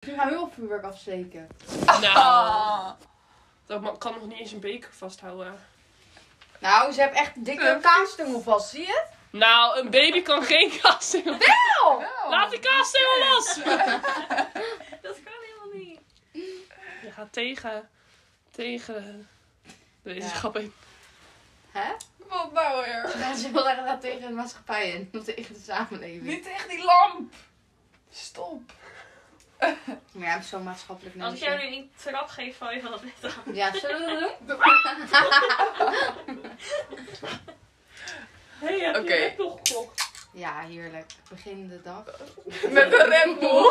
Nu gaan we heel veel vuurwerk afsteken. Oh. Nou, dat ma- kan nog niet eens een beker vasthouden. Nou, ze hebben echt dikke Fuck. kaasstengel vast, zie je? Nou, een baby kan geen kaasstengel. Oh, Wel. Laat de kaasstengel los! Dat kan helemaal niet. Je gaat tegen. tegen. de wetenschap in. hè? Wat nou weer? Dat is heel erg tegen de maatschappij in, tegen de samenleving. Niet tegen die lamp. Stop. Maar ja, zo'n maatschappelijk Als ik mensje. jou nu een trap geef, val je van het bed af. Ja, zullen we dat doen? Hé, hey, eh, Oké. heb nog gekocht? Ja, heerlijk. Begin de dag. Met een Red Bull.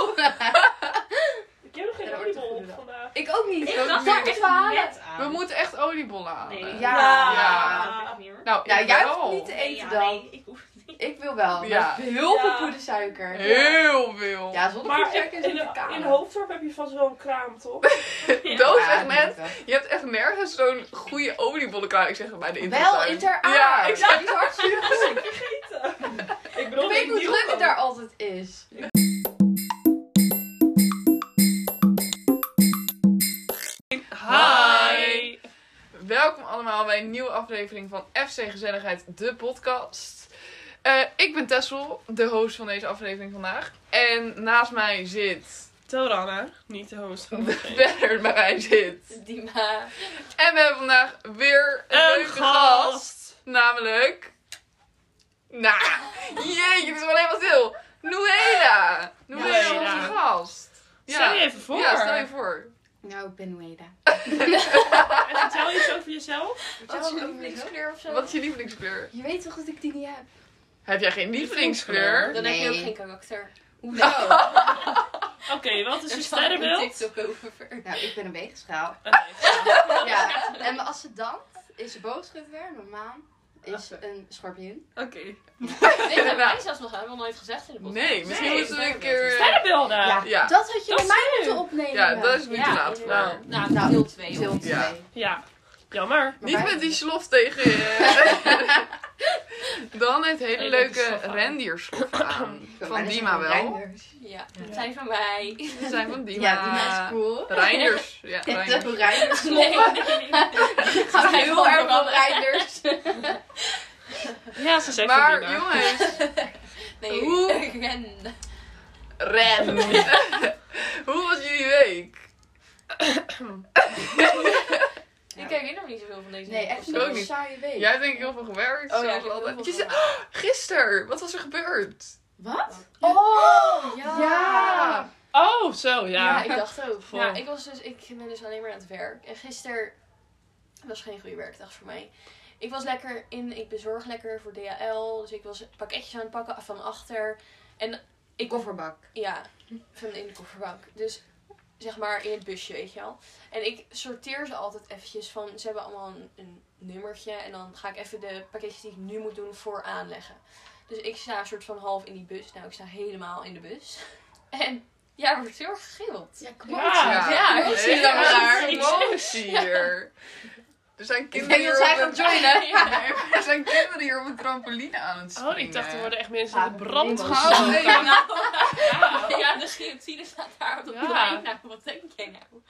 Ik heb nog geen Ja, dat wordt een oliebol goede dag. vandaag. Ik ook niet. Ik Ook dacht niet. daar echt net aan. We moeten echt oliebollen halen. Ja. Nee. Ja, dat is niet hoor. Nou, Ja, ik jij wel. hoeft niet te Nee, eten ja, dan. nee, ik hoef het niet. Ik wil wel. Ja. Ja. Heel veel Ja. poedersuiker. Heel veel. Ja, zonder Maar poedersuiker in, is het in, te kaal. in Hoofddorp heb je vast wel een kraam, toch? Ja. Dat is Ja, echt net. dat Je hebt echt nergens zo'n goede oliebollenkraam. Ik zeg het bij de moet internet. Wel Ah. in Ter Aar. Ja, ik Die is hartstikke goed. Ik bedoel, Ik weet hoe druk het daar altijd is. Hi! Welkom allemaal bij een nieuwe aflevering van FC Gezelligheid, de podcast. Eh, ik ben Tessel, de host van deze aflevering vandaag. En naast mij zit... Torana, niet de host van de Verder bij mij zit. Dima. En we hebben vandaag weer een, Een leuke gast. gast. Namelijk... Nou, jeetje, het is wel helemaal stil. Noela. Noela is Noela. onze gast. Stel je even voor. Ja, stel je voor. Nou, ik ben Weda. En vertel je zo over jezelf. Oh, ook of zo? Wat is je lievelingskleur? Je weet toch dat ik die niet heb? Heb jij geen lievelingskleur? Dan heb je Nee. ook geen karakter. Hoezo? Oké, wat is je Er staat een sterrenbeeld? TikTok over. nou, ik ben een weegschaal. Oké. Ja. En mijn ascendant is een boogschutter. Mijn maan is een schorpioen. Oké. Nee, dat heb ik zelfs nog helemaal nooit gezegd in de podcast. Nee, misschien Nee, moeten we een sterrenbeeld. keer... Sterrenbeelden! Ja, ja. dat had je bij Dat is mij leuk. moeten opnemen. Ja, dat is niet te Ja. laat Ja. vandaag. Nou, nou deel 2. Deel Ja. twee. Ja. Jammer. Maar Niet wij- met die slof tegen je. Dan het hele Nee, dat is leuke slof aan. rendierslof aan. Ik wil Van bijna zeggen Dima wel. Reinders. Ja, dat zijn van mij. Ze zijn van Dima. Ja, Dima is cool. Reinders. Ja, Reinders. De Reinders. Nee, nee, nee. Gaan we Zijn heel van erg Dima. van Reinders. Ja, ze zegt Maar het niet, hoor. jongens, Nee, Hoe? ik ben... ren. Hoe was jullie week? Ik herinner me niet zoveel van deze Nee, week echt of zo. ook een niet. saaie week. Jij hebt denk ik heel veel gewerkt. Oh ja, zoals ik heb altijd. heel Je veel zei- Gisteren, wat was er gebeurd? Wat? Oh, ja. Ja. Oh, zo, ja. Ja, ik dacht ook. Vol. Ja, ik, was dus, ik ben dus alleen maar aan het werk. En gisteren was geen goede werkdag voor mij. Ik was lekker in, ik bezorg lekker voor DHL. Dus ik was pakketjes aan het pakken van achter. Ik kofferbak. Ja, van in de kofferbak. Dus zeg maar in het busje, weet je wel. En ik sorteer ze altijd eventjes van, ze hebben allemaal een, een nummertje. En dan ga ik even de pakketjes die ik nu moet doen vooraan leggen. Dus ik sta een soort van half in die bus. Nou, ik sta helemaal in de bus. En ja, er wordt heel erg gegild. Ja, klopt. Ja. Ah, Ja. Ja, ja. ik zie Hele dat maar. emotie hier. Er zijn Ik kinderen denk dat hier zij op gaat een... joinen. Nee, maar Er zijn kinderen hier op een trampoline aan het springen. Oh, ik dacht er worden echt mensen Ja, uit de brand nee, Oh, gestoken. nee, nou. Ja. Ja, de guillotine staat daar op de Ja. plein. Nou, wat denk jij nou?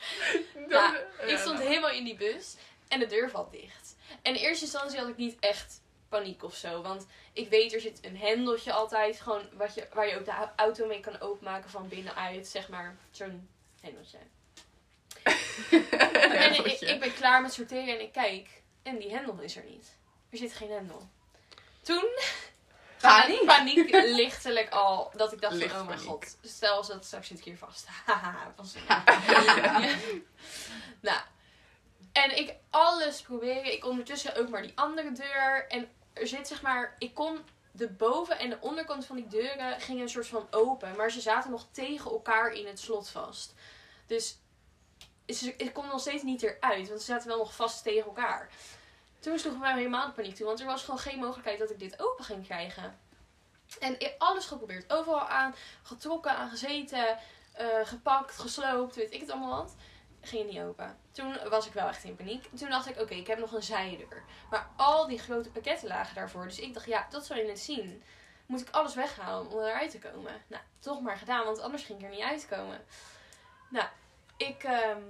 Ja, Ik stond helemaal in die bus en de deur valt dicht. En in eerste instantie had ik niet echt paniek of zo. Want ik weet, er zit een hendeltje altijd. Gewoon wat je, waar je ook de au- auto mee kan openmaken van binnenuit. Zeg maar, zo'n hendeltje. en ik, ik ben klaar met sorteren en ik kijk. En die hendel is er niet. Er zit geen hendel. Toen Paniek. paniek lichtelijk al. Dat ik dacht Licht van, oh mijn paniek. god. Stel als dat straks zit ik hier vast. Haha, was- Nou. En ik alles proberen. Ik ondertussen ook maar die andere deur. En er zit zeg maar... Ik kon... De boven- en de onderkant van die deuren gingen een soort van open. Maar ze zaten nog tegen elkaar in het slot vast. Dus ze- ik kon nog steeds niet eruit. Want ze zaten wel nog vast tegen elkaar. Toen sloeg het mij helemaal de paniek toe. Want er was gewoon geen mogelijkheid dat ik dit open ging krijgen. En ik alles geprobeerd. Overal aan. Getrokken, aan gezeten. eh, gepakt, gesloopt. Weet ik het allemaal wat. Ging niet open. Toen was ik wel echt in paniek. Toen dacht ik, oké, ik heb nog een zijdeur. Maar al die grote pakketten lagen daarvoor. Dus ik dacht, ja, dat zou je net zien. Moet ik alles weghalen om eruit te komen? Nou, toch maar gedaan. Want anders ging ik er niet uitkomen. Ik, ehm,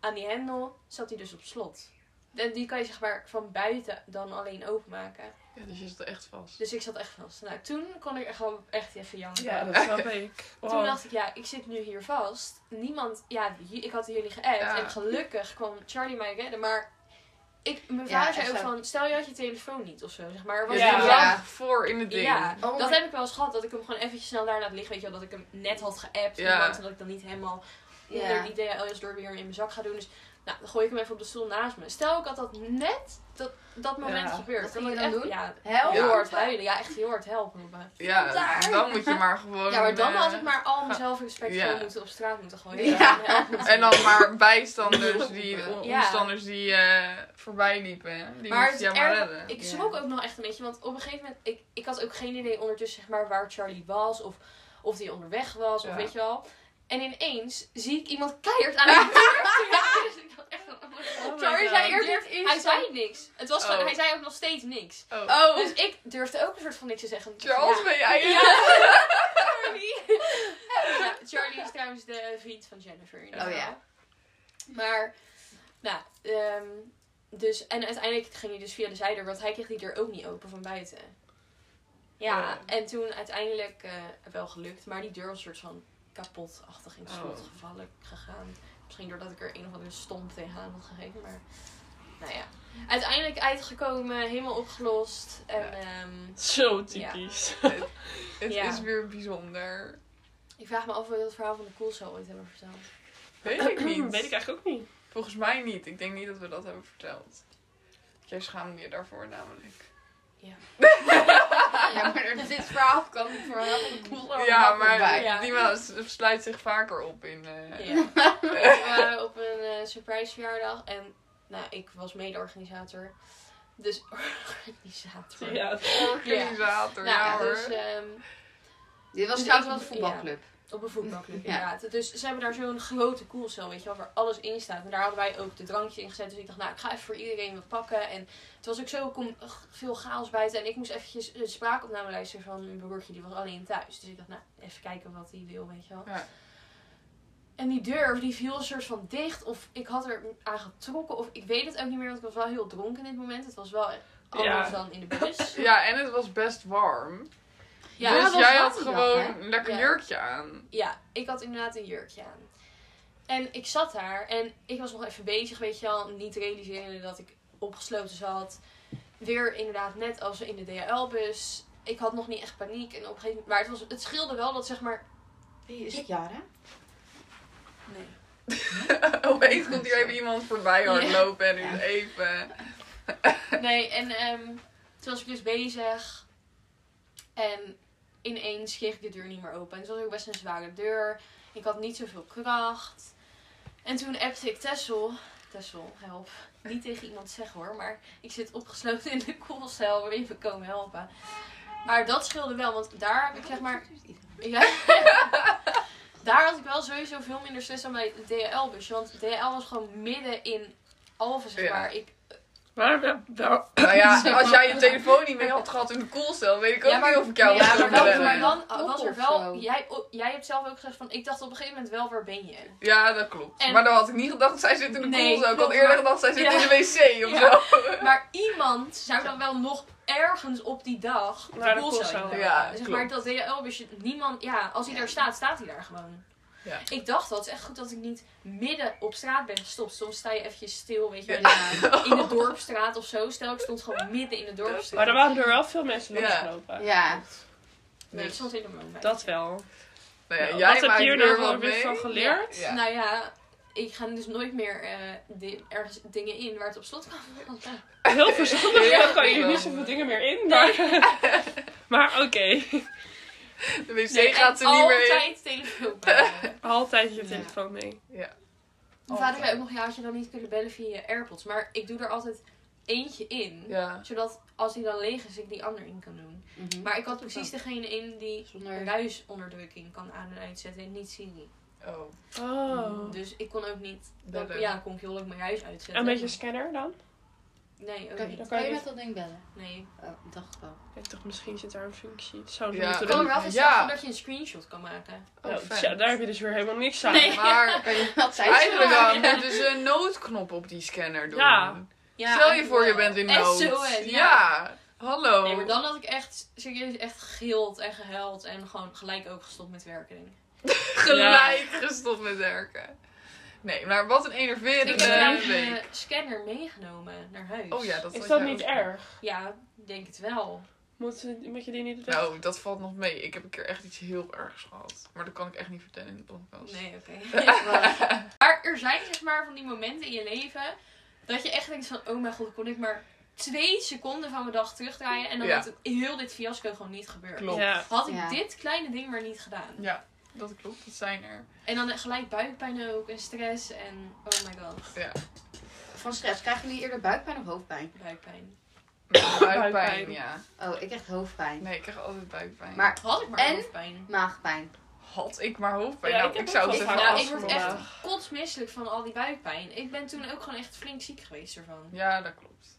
aan die hendel zat hij dus op slot. En die kan je zeg maar van buiten dan alleen openmaken. Ja, dus je zit er echt vast. Dus ik zat echt vast. Nou, toen kon ik er gewoon echt even janken. Ja, dat snap ik. Toen Wow. dacht ik, ja, ik zit nu hier vast. Niemand, ja, j- ik had jullie geappt. Ja. En gelukkig kwam Charlie mij redden. Maar ik, mijn Ja, vader zei echt ook zo. van, stel je had je telefoon niet of zo, zeg maar. Er Je Was Ja. zit ja. lang voor in het ding. Ja, Oh dat my- heb ik wel eens gehad. Dat ik hem gewoon eventjes snel daar laat liggen. Weet je wel, dat ik hem net had geappt. Ja. iemand, En dat ik dan niet helemaal Ja. onder het idee alles door weer in mijn zak ga doen. Dus nou, dan gooi ik hem even op de stoel naast me. Stel, ik had dat net, dat, dat moment Ja. gebeurd. Wat ging Dan je had dan ik echt- Ja, Help. heel Ja. hard huilen. Ja, echt heel hard help roepen. Ja, Daar. dan moet je maar gewoon... Ja, maar dan eh, had ik maar al mijn zelfrespect Ja. gewoon moeten op straat moeten gooien. Ja. Ja. help moeten En dan maar bijstanders, die, o- Ja. omstanders die eh, voorbij liepen. hè. Die Maar moest het je is maar erg- redden. Ik Ja. schrok ook nog echt een beetje, want op een gegeven moment, ik, ik had ook geen idee ondertussen zeg maar, waar Charlie was of of hij onderweg was, Ja. of weet je wel. En ineens zie ik iemand keihard aan de deur. trekken. Dus ik dacht echt van, oh my god. Oh my Sorry, God. zij eerst iets. Hij zei niks. Het was gewoon, Oh. hij zei ook nog steeds niks. Oh. Oh, Dus ik durfde ook een soort van niks te zeggen. want ik dacht, Charles, ben jij Ja. het? Ja, Charlie. Ja, Charlie is trouwens de vriend van Jennifer. in ieder Oh ja. geval. Maar, nou, ehm, dus, en uiteindelijk ging hij dus via de zijdeur, want hij kreeg die deur ook niet open van buiten. Ja, Oh. en toen uiteindelijk eh, wel gelukt, maar die deur was een soort van kapotachtig in het slot Oh. gevallen gegaan. Misschien doordat ik er een of andere stomp tegenaan had gegeven, maar nou ja. Uiteindelijk uitgekomen, helemaal opgelost en Ja. ehm, Zo typisch. Het Ja. is weer bijzonder. Ik vraag me af of we het verhaal van de koelcel ooit hebben verteld. Weet ik niet. Weet ik eigenlijk ook niet. Volgens mij niet. Ik denk niet dat we dat hebben verteld. Jij schaamde je daarvoor namelijk. ja, maar dit verhaal kan ik voor heel Oh, cool ja, maar Ja. die man s- sluit zich vaker op in... eh, Ja. we waren op een eh, surprise verjaardag en nou, ik was mede-organisator. Dus organisator. Ja. Organisator, Nou, ja, hoor. dus ehm, Dit was Dus trouwens ik- wel een voetbalclub. op een voetbalclub Ja. inderdaad. Dus ze hebben daar zo'n grote koelcel, weet je wel, waar alles in staat. En daar hadden wij ook de drankje in gezet. Dus ik dacht, nou, ik ga even voor iedereen wat pakken. En het was ook zo kom, ugh, veel chaos buiten. En ik moest eventjes een spraakopname luisteren van mijn broertje. Die was alleen thuis. Dus ik dacht, nou, even kijken wat hij wil, weet je wel. Ja. En die deur, die viel een soort van dicht. Of ik had er aan getrokken. Of ik weet het ook niet meer, want ik was wel heel dronken in dit moment. Het was wel anders Ja. dan in de bus. Ja, en het was best warm. Ja, dat dus was jij warm had die dag, gewoon hè? een lekker Ja. jurkje aan. Ja, ik had inderdaad een jurkje aan. En ik zat daar en ik was nog even bezig, weet je wel, niet realiseren dat ik opgesloten zat. Weer inderdaad net als in de DHL-bus. Ik had nog niet echt paniek en op een gegeven moment... Maar het, was, het scheelde wel dat zeg maar... Wie is Jara? Nee. Opeens komt hier even iemand voorbij Ja. hardlopen en Ja. nu even... Nee, en ehm, toen was ik dus bezig. En ineens kreeg ik de deur niet meer open. En het was ook best een zware deur. Ik had niet zoveel kracht. En toen appte ik Tessel. Tessel, help. Niet tegen iemand zeggen hoor, maar ik zit opgesloten in de koelcel. Wil je even komen helpen? Maar dat scheelde wel, want daar heb ik zeg maar... Ja. Daar had ik wel sowieso veel minder stress dan bij het DHL-busje. Want DHL was gewoon midden in Alphen, zeg Ja. maar. Ik, Maar we- wel- Nou ja, als jij je telefoon niet mee had gehad in de koelcel, weet ik ook niet of ik jou had ja, maar kunnen dan, bellen. maar Oh, dan Top was er of wel. zo. Jij, oh, jij hebt zelf ook gezegd van. Ik dacht op een gegeven moment wel, waar ben je? Ja, dat klopt. En- Maar dan had ik niet gedacht dat zij zit in de Nee, koelcel. Ik had klopt, eerder maar- gedacht zij zit Ja. in de wc of Ja. zo. Maar iemand zou dan wel nog ergens op die dag. de Naar de koelcel koelcel. inlopen. Ja, zeg klopt. maar dat DHL-busje. Niemand. Ja, als hij daar staat, staat hij daar gewoon. Ja. Ik dacht dat. Het is echt goed dat ik niet midden op straat ben gestopt. Soms sta je eventjes stil, weet je wel. In de dorpstraat of zo. Stel, ik stond gewoon midden in de dorpstraat. Maar er waren er wel veel mensen Ja. losgelopen. Ja. Nee, ik stond helemaal bij. Dat wel. Nou ja, Nou, jij wat heb maakt je hier weer nou wat gewoon mee. weer van geleerd? Ja. Nou ja, ik ga dus nooit meer eh, di- ergens dingen in waar het op slot kan vallen. Heel verstandig. Ja, Dan kan je hier wel. niet zoveel dingen meer in. Maar, maar oké. De wc Nee, en gaat er niet meer in. altijd telefoon bellen. Altijd je Ja. telefoon mee. Ja. Mijn Oh. vader zei ook nog, ja, had je dan niet kunnen bellen via je AirPods. Maar ik doe er altijd eentje in. Ja. Zodat als die dan leeg is, ik die ander in kan doen. Maar ik had precies degene in die Mhm. Zonder... ruisonderdrukking kan aan en uitzetten en niet Siri. Oh. Oh. Dus ik kon ook niet... Dan, Bellen. ja, kon ik heel leuk mijn ruis uitzetten. En met je scanner dan? Nee, ook Kan, niet. dan kan je je- met dat ding bellen? Nee. Oh, dacht ik wel. Ik dacht, misschien zit daar een functie. Het zou Ja. moeten Ik kan er doen. wel van Ja. zeggen dat je een screenshot kan maken. Oh, Ja, fijn. tja, daar heb je dus weer helemaal niks aan. Nee. Maar Kan je dat zijn? eigenlijk waar. dan moeten ze een noodknop op die scanner doen. Ja. Ja, Stel je voor, je wel. bent in nood. SOS, ja. ja. hallo. Nee, maar dan had ik echt serieus echt gegild en gehuild en gewoon gelijk ook gestopt met werken. denk ik. Gelijk gestopt met werken. Nee, maar wat een enerverende Ik heb namelijk week. een eh, scanner meegenomen naar huis. Oh ja, dat Is had dat jij niet ook. erg? Ja, ik denk het wel. Moet, moet je die niet doen? Nou, dat valt nog mee. Ik heb een keer echt iets heel ergs gehad. Maar dat kan ik echt niet vertellen in de podcast. Nee, oké. maar er zijn zeg maar van die momenten in je leven dat je echt denkt van, oh mijn god, dan kon ik maar twee seconden van mijn dag terugdraaien en dan Ja. had het heel dit fiasco gewoon niet gebeurd. Klopt. Ja. Had ik Ja. dit kleine ding maar niet gedaan. Ja, dat klopt. Dat zijn er. En dan gelijk buikpijn ook en stress en oh my god, Van stress. Krijgen jullie eerder buikpijn of hoofdpijn? buikpijn. Buikpijn, Buikpijn. ja. Oh, ik krijg hoofdpijn. Nee, ik krijg altijd buikpijn. Maar Had ik maar En? hoofdpijn. maagpijn. had ik maar hoofdpijn. Ja, nou, ik heb ik, ook zou het wel even vaak Nou, ik afslaan. word echt kotsmisselijk van al die buikpijn. Ik ben toen ook gewoon echt flink ziek geweest ervan. Ja, dat klopt.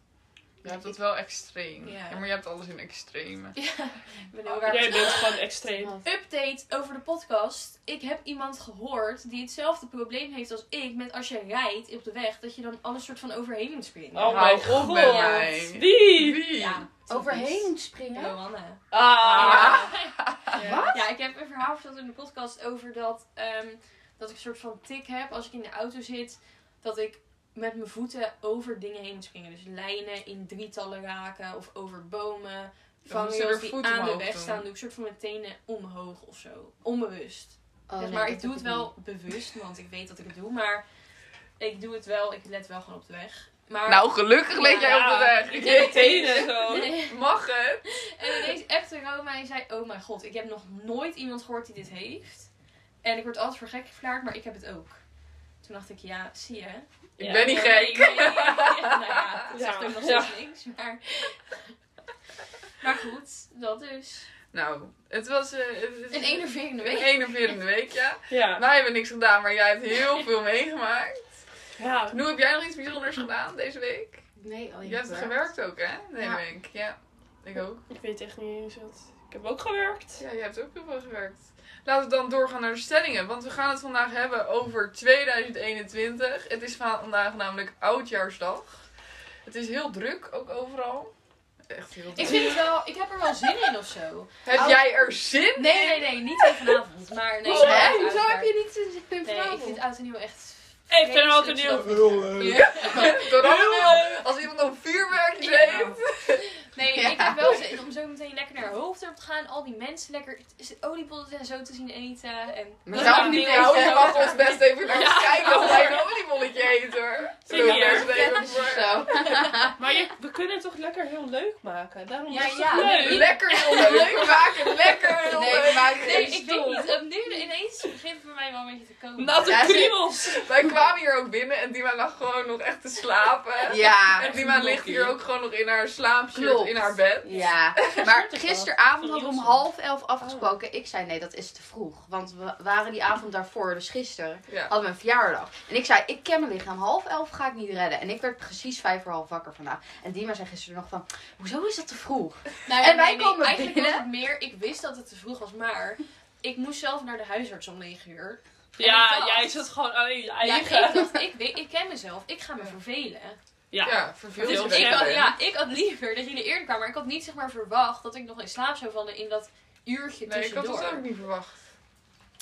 Je hebt dat wel extreem. Ja. Ja. maar je hebt alles in extreme. Ja, ik ben heel raar. Jij bent gewoon Oh. extreem. Update over de podcast. Ik heb iemand gehoord die hetzelfde probleem heeft als ik met als je rijdt op de weg, dat je dan alles soort van overheen moet springen. Oh Hou mijn op god. met mij. Wie? Wie? Ja, typisch. Overheen springen? Johanna. Ah. Wat? Ja, ik heb een verhaal verteld in de podcast over dat, ehm, dat ik een soort van tik heb als ik in de auto zit. Dat ik met mijn voeten over dingen heen moet springen. Dus lijnen in drietallen raken of over bomen. moet je er Vangrails die voet aan de omhoog weg doen. staan, doe ik soort van mijn tenen omhoog of zo. Onbewust. Oh, Zeg nee, maar dat ik doe heb het wel bewust, want ik weet dat ik het doe. Maar ik doe het wel, ik let wel gewoon op de weg. Maar oh, Nou, gelukkig leek jij op de weg. Ik deed tenen zo. Mag het? En ineens appte Rome en zei, oh mijn god, ik heb nog nooit iemand gehoord die dit heeft. En ik word altijd voor gek verklaard, maar ik heb het ook. Toen dacht ik, ja, zie je. Ik Ja. ben niet gek. Nee, nee, nee. nou ja, dat zegt Ja. ook nog steeds niks, maar... Maar goed, dat dus. Nou, het was eh, het is Een enerverende een week. enerverende week, ja. Ja. Wij hebben niks gedaan, maar jij hebt heel veel meegemaakt. ja. Nu heb jij nog iets bijzonders gedaan deze week? Nee, oh, Jij hebt gewerkt ook, hè? Nee, Ja. denk ik. Ja, ik ook. Ik weet echt niet eens wat. Ik heb ook gewerkt. Ja, jij hebt ook heel veel gewerkt. Laten we dan doorgaan naar de stellingen, want we gaan het vandaag hebben over 2021. Het is vandaag namelijk oudjaarsdag. Het is heel druk, ook overal. Echt heel Ik druk. vind het wel, ik heb er wel zin in of zo. Heb Oud- jij er zin in? Nee, nee, nee, niet tegen vanavond, Oh, maar nee. Hoezo vanavond heb uiteraard. je niet zin- zin in Nee, ik vanavond? vind oud en nieuw echt... Ik ben vreselijk oud en nieuw. slecht. Ja. Door allemaal. Als iemand een vuurwerk Nou, Ja. heeft. Nee, ik heb wel zin om zo meteen lekker naar Hoofddorp te gaan. Al die mensen lekker oliepollen en zo te zien eten. En... Maar Dat zou maakt ik niet niet uit. weten. Nou, je mag ons best even naar eens kijken als wij een oliebolletje eet hoor. Zie Doe hier. best even Kennis of voor- zo. Maar je- we kunnen het toch lekker heel leuk maken. Daarom Ja, is het ja. leuk. Lekker heel leuk maken, lekker heel Nee, leuk. maar- Nee, Is ik weet dom. niet. eh, Nu ineens begint het bij mij wel een beetje te komen. Natte Ja, ze- kriebels. Wij kwamen hier ook binnen en Dima lag gewoon nog echt te slapen. En Ja, Dima ligt hier ook gewoon nog in haar slaapshirt Klopt. in haar bed. ja. Maar gisteravond hadden we om half elf afgesproken. Ik zei nee, dat is te vroeg. Want we waren die avond daarvoor, dus gisteren, Ja. hadden we een verjaardag. En ik zei, ik ken mijn lichaam, half elf ga ik niet redden. En ik werd precies vijf voor half wakker vandaag. En Dima zei gisteren nog van, hoezo is dat te vroeg? Nou En wij komen Eigenlijk binnen. was het meer, ik wist dat het te vroeg was, maar ik moest zelf naar de huisarts om 9 uur. En Ja, dat- jij zit gewoon alleen je Ja, ik, eigen. dacht, ik, weet, ik ken mezelf, ik ga me vervelen. Ja. Ja, Het is vervelend. Dus ik, had, vervelend. ja, ik had liever dat jullie eerder kwamen, maar ik had niet zeg maar, verwacht dat ik nog in slaap zou vallen in dat uurtje Nee, ik had tussendoor. dat ook niet verwacht.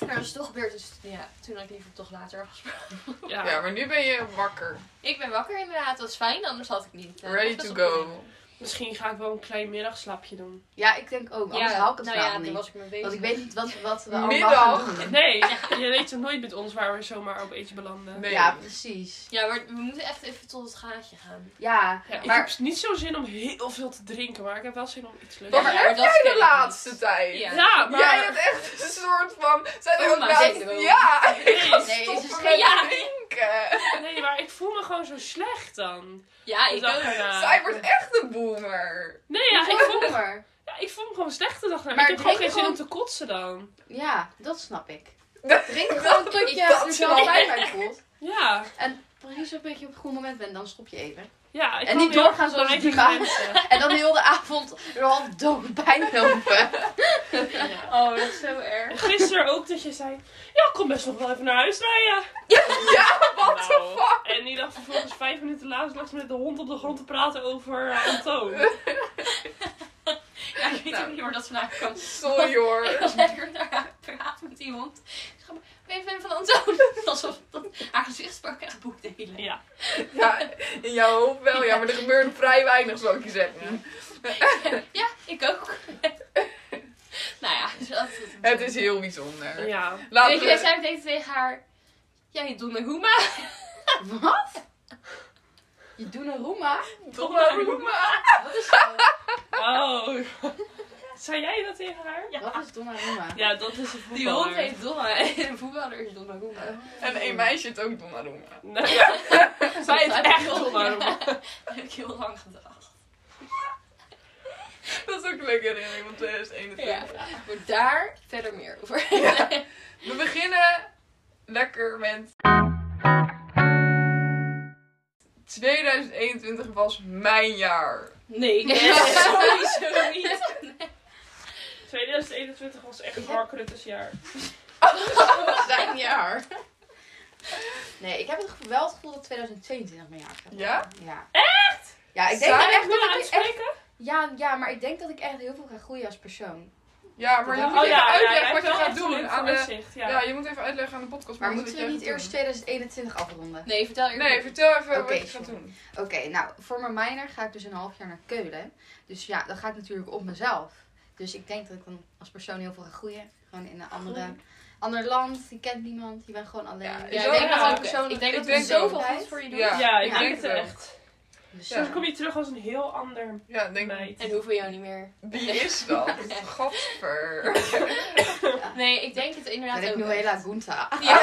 Maar dat is toch gebeurd, dus ja, toen had ik liever toch later afgesproken. Ja. Ja, maar nu ben je wakker. Ik ben wakker inderdaad, dat is fijn, anders had ik niet. eh, Ready dat is to een probleem. go. Misschien ga ik wel een klein middagslapje doen. Ja, ik denk ook, anders haal ik het vanavond nou ja, daar niet. was ik mee bezig. Want ik weet niet wat, wat we allemaal gaan Middag. doen. Nee, je weet het nooit met ons waar we zomaar op eentje belanden. Nee. Ja, precies. Ja, maar we moeten echt even tot het gaatje gaan. Ja, Ja, ik maar heb niet zo zin om heel veel te drinken, maar ik heb wel zin om iets leuks Wat te maar doen. Ja, heb dat jij ken de ik laatste niet. tijd? Ja. Ja, maar... Jij hebt echt een soort van... Zijn er ook Oma laatst... syndroom. Ja, ik ga Nee, stoppen ze is met geen- ja. drinken. Nee, maar ik voel me gewoon zo slecht dan. Ja, ik De dag ook. erna. Zij wordt echt een boomer. Nee, ja, ik voel, me, Honger. ja, ik voel me gewoon slecht de dag erna. Maar ik heb gewoon geen drink zin om gewoon- te kotsen dan. Ja, dat snap ik. Dat- Drink gewoon tot je dat er snap zo ik. bij bij voelt. Ja. En precies precies een beetje op het goede moment bent, dan stop je even. Ja, ik En kan niet heel doorgaan goed zoals bereiken die gaan. met mensen. En dan heel de avond er half dood bij lopen. Ja. Oh, dat is zo erg. En Gisteren ook dat je zei, ja, ik kom best nog wel even naar huis rijden. What the Nou, fuck? En die lag vervolgens vijf minuten later lag ze met de hond op de grond te praten over eh, Antoon. Ja, ik weet Nou. ook niet waar dat vandaan kwam. Sorry Ik hoor. was lekker naar haar praat met die hond. Ik zeg maar, ben je fan van Antoon? Alsof dat haar gezichtsprak echt boekdelen. Ja. Ja, in jouw hoofd wel, ja, maar er gebeurde vrij weinig, zou ik je zeggen. Ja, ik ook. nou ja, dus dat Het is heel bijzonder. ja. Weet je, wij Laten we... zei meteen tegen haar... Jij doet een hoema. Wat? Je doet een roema? Donnarumma. Wat is dat? Oh. Zei jij dat tegen haar? Wat is Donnarumma? Ja, dat is een Die voetballer. hond heet Donna en een voetballer is Donna Roema. En een meisje het ook Donnarumma. Nou, ja. Zij Dat heet heb ik echt heel- Donnarumma. Dat heb ik heel lang gedacht. Dat is ook een leuke herinnering van 2021. Ja. Maar daar verder meer over. We beginnen lekker met. 2021 was mijn jaar. Nee, sowieso niet. 2021 was echt Mark Rutte's jaar. zijn jaar. Nee, ik heb het gevoel, wel het gevoel dat 2022 mijn jaar gaat Ja? worden. Ja. Echt? Ja, ik denk Zou dat Kan ik echt nu dat ik echt... uitspreken? Ja, ja, maar ik denk dat ik echt heel veel ga groeien als persoon. Ja, maar je Oh moet even uitleggen jij wat hebt je wel gaat echt een doen. leuk Aan de, vooruitzicht, ja. ja, je moet even uitleggen aan de podcast. Maar mensen moeten wat we jij niet gaat eerst doen. 2021 afronden? Nee, vertel eerst. Nee, vertel even Oké, wat je gaat sorry. doen. Oké, nou, voor mijn minor ga ik dus een half jaar naar Keulen. Dus ja, dan ga ik natuurlijk op mezelf. Dus ik denk dat ik dan als persoon heel veel ga groeien. Gewoon in een andere, ander land, je kent niemand, je bent gewoon alleen. Ja, Dus Ja, Zo, ik denk dat ja, we oké. persoonlijk- ik denk Ik dat denk we zoveel ook. goed voor je doen. Ja. Ja, ik Ja, denk ik het ook. echt. Dus, Ja. Soms eh, kom je terug als een heel ander Ja, denk meid. En hoeven we jou niet meer. Wie is dat? Gadver. Nee, ik denk het inderdaad ben ik ook. nu wel. hela Gunta. Ja.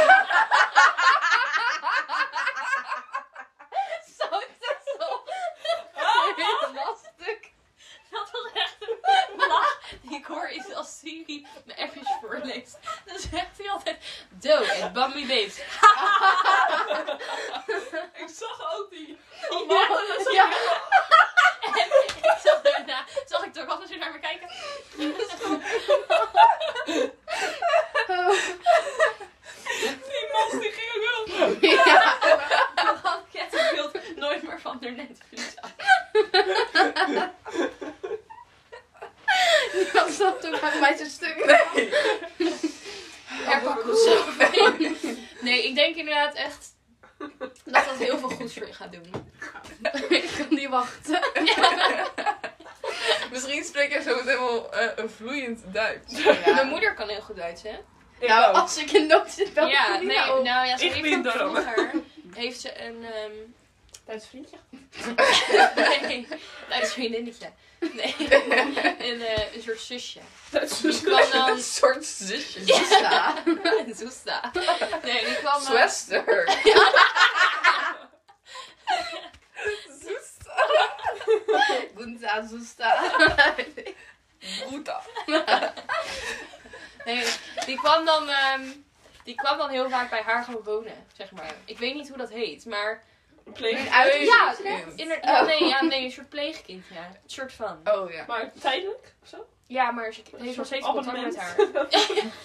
Zo is dat zo. Lastig. Oh, Dat was echt een lach. die Ik hoor is als Siri mijn appjes voorleest. Dan zegt hij altijd: Do en Bambi Babes. Ik zag ook die. Ja. En ik Oh, zag daarna, zag ik toch altijd weer naar me kijken. Die man die ging ook wel. Ja. En dan had beeld nooit meer van haar netvlies af. Dat zat toen bij mij zo'n stuk. Herpak of zo. Nee, ik denk inderdaad echt dat dat heel veel goeds voor je gaat doen. Ik kan niet wachten. Misschien spreek jij zo meteen wel eh, een vloeiend Duits. Mijn moeder kan heel goed Duits, hè? Ik nou, ook. als ik in nood zit, dan ja, kan ik nee, niet nou. nou ja, ze Ik heeft vind ook daarom. vroeger heeft ze een ehm Duits vriendje. nee, Duits vriendinnetje. Nee, een, eh, een soort zusje. Duits Die kwam dan Een soort zusje. Ja. een Zoesta. Nee, die kwam eh, dan- Zwester. Gunta, Zusta. Boeta. Nee, die kwam dan, ehm, die kwam dan heel vaak bij haar gewoon wonen, zeg maar. Ik weet niet hoe dat heet, maar Pleeg. Uit. ja, Pleegkind. inderdaad. Oh. Nee, ja, nee, een soort pleegkind, ja, een soort van. Oh ja. Maar tijdelijk of zo? Ja, maar ze Een heeft nog soort steeds contact met abonnement.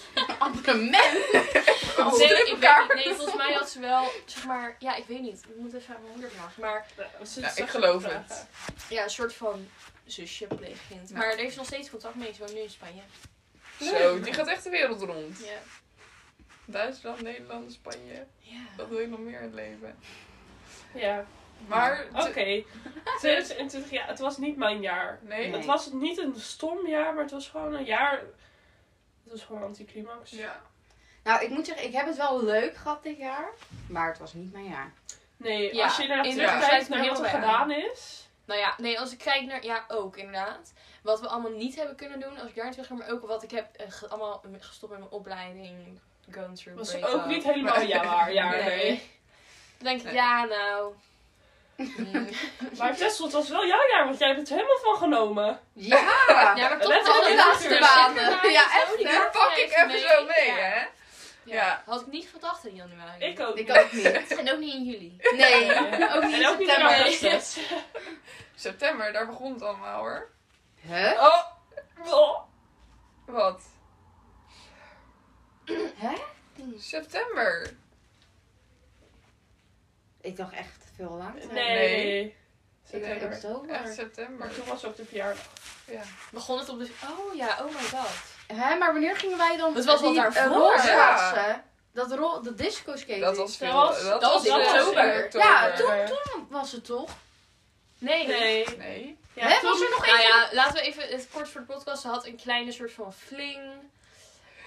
haar. Abonnement. Oh, nee, druk ik weet elkaar. niet. Nee, volgens mij had ze wel, zeg maar, ja, ik weet niet. Ik moet even aan mijn moeder vragen. Maar Ja, ze- Ja, ze- ik geloof ze- het. ja, een soort van zusje, pleegkind. Maar er is nog steeds contact mee, zo nu in Spanje. Zo, die gaat echt de wereld rond. Ja. Duitsland, Nederland, Spanje. Ja. Dat wil je nog meer in het leven. Ja, Maar... oké. 2020, ja, het was niet mijn jaar. Nee? Nee. Het was niet een stom jaar, maar het was gewoon een jaar. Het was gewoon anticlimax. Ja. Nou, ik moet zeggen, ik heb het wel leuk gehad dit jaar. Maar het was niet mijn jaar. Nee, Ja, als je naar inderdaad, terugkijkt ja. naar wat er gedaan is. Nou ja, nee, als ik kijk naar, ja, ook inderdaad. Wat we allemaal niet hebben kunnen doen, als ik daar terug ga, maar ook wat ik heb eh, ge- allemaal gestopt met mijn opleiding, going through Was break-up. ook niet helemaal Nee. jouw jaar. jaar nee. Nee. Dan denk ik, Nee. ja, nou. Mm. Maar Tessel, het was wel jouw jaar, want jij hebt het helemaal van genomen. Ja. Ja, maar toch Let wel op de de laatste Oh, laatste baan. banen. Ja, echt, Daar pak ik even zo mee, hè. Ja. Had ik niet gedacht in januari. Ik ook. Ik ook niet. En ook niet in juli. Nee. Ook niet En ook niet in september. augustus. September, daar begon het allemaal hoor. Eh. Huh? Oh! Oh. Wat? Hè? September. Ik dacht echt veel later. Nee. Ik dacht September. Echt oktober. Maar september. toen was ook de verjaardag. Ja. Begon het op de... Oh ja, oh my god. Hè, maar wanneer gingen wij dan... Dat was wat die, eh, daarvoor. rolschaatsen? Dat, rol, dat disco skating. Dat was veel. was- dat was veel oktober. in Ja, toen, toen was het toch? Nee. Eh, Nee. Nee. Ja, Hè, toen- was er nog Nou één? ja, laten we even het kort voor de podcast. Ze had een kleine soort van fling.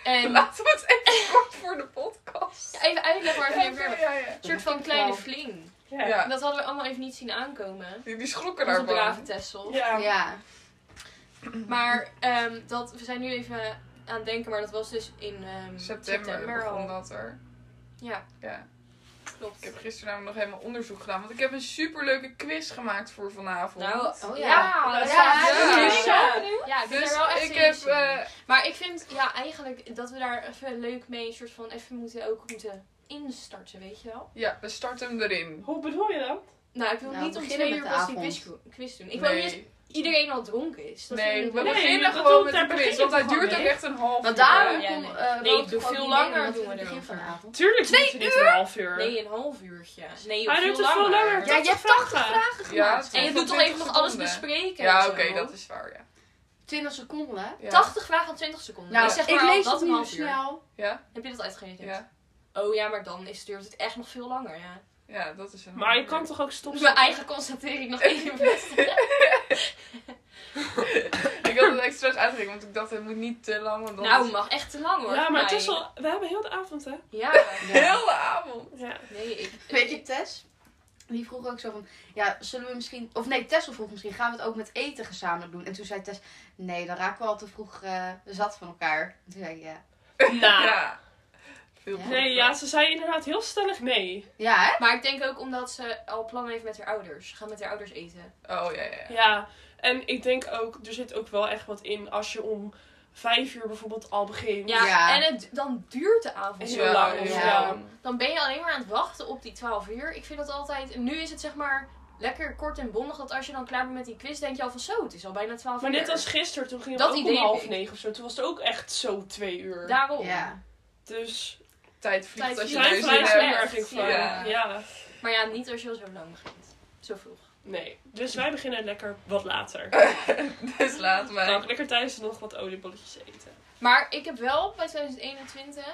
En Laten we het even kort voor de podcast. Ja, even uitleggen waar het Ja, over hebben. ja, ja. Een soort van kleine fling. Ja. Ja. En Dat hadden we allemaal even niet zien aankomen. Die, die schrokken Onze brave daarvan. Tessel. Ja. Ja. Maar ehm, dat, we zijn nu even aan het denken, maar dat was dus in ehm, September, begon dat er. Ja, Ja. Ik klopt. heb gisteren namelijk nog helemaal onderzoek gedaan. Want ik heb een superleuke quiz gemaakt voor vanavond. Nou, Oh ja. ja. Ja, dat Ja, is- dat is Ja. zo nieuw. Ja, ik ben dus er wel echt ik zin in. heb... eh, Maar ik vind ja, eigenlijk dat we daar even leuk mee, een soort van even moeten ook moeten instarten, weet je wel? ja, we starten hem erin. Hoe bedoel je dat? Nou, ik wil Nou, niet om beginnen twee met uur de pas die avond. quiz, quiz doen. Ik wil niet nee, dat iedereen al dronken is. Dat nee, vind ik we niet leuk. Nee, beginnen dat gewoon doet- met daar de quiz. begint Want hij het duurt ook gewoon echt een half Want uur. daarom Ja, kon, nee. eh, Nee, Rob doe ook veel niet langer meedoen met doen het we begin erover. van de avond. Tuurlijk doet hij dit een half uur. Nee, een half uurtje. Nee, Hij veel doet het veel langer. Ja, je hebt 80 vragen Ja, gemaakt. het En je Van doet toch even 20 nog alles seconden. bespreken. en Ja, zo. oké, dat is waar, ja. 20 seconden, hè? ja. 80 vragen aan 20 seconden. Nou, ik zeg ik maar al lees dat het een nu half uur. snel. Ja, Heb je dat uitgerekend? ja, Oh ja, maar dan is, duurt het echt nog veel langer, ja. ja, dat is een Maar je kan toch ook Dat stoppen? is mijn eigen constatering nog even. Ik had het expres uitgerekend, want ik dacht het moet niet te lang. Want dan nou, is mag echt te lang hoor. Ja, voor maar mij. het is al... We hebben heel de avond, hè? Ja. het de hele avond. Ja. Nee, ik... Weet je, Tess? Die vroeg ook zo van, ja, zullen we misschien... Of nee, Tessel vroeg misschien, gaan we het ook met eten gezamenlijk doen? En toen zei Tess, nee, dan raken we al te vroeg eh, zat van elkaar. En toen zei ik, ja. Nou. Ja. Veel Ja. Nee, ja, ze zei inderdaad heel stellig nee. Ja, hè? Maar ik denk ook omdat ze al plannen heeft met haar ouders. Ze gaan met haar ouders eten. Oh, ja, ja. ja. Ja. En ik denk ook, er zit ook wel echt wat in als je om vijf uur bijvoorbeeld al begint. Ja, Ja. en het, dan duurt de avond zo Heel lang. of ja. zo. Ja. Dan ben je alleen maar aan het wachten op die 12 uur. Ik vind dat altijd. Nu is het zeg maar lekker kort en bondig. Dat als je dan klaar bent met die quiz, denk je al van zo, het is al bijna 12 Maar uur. net als gisteren, toen ging Dat het ook om idee half ik. negen of zo. Toen was het ook echt zo twee uur. Daarom. Ja. Dus Tijd vliegt Tijd als je vliegt. zijn er is vrij zin echt snel hebt. slecht. erg ik van. Ja. ja. Maar ja, niet als je al zo lang begint. Zo vroeg. Nee. Dus wij beginnen lekker wat later. Dus laat Dan kan ik mij. lekker thuis nog wat oliebolletjes eten. Maar ik heb wel bij 2021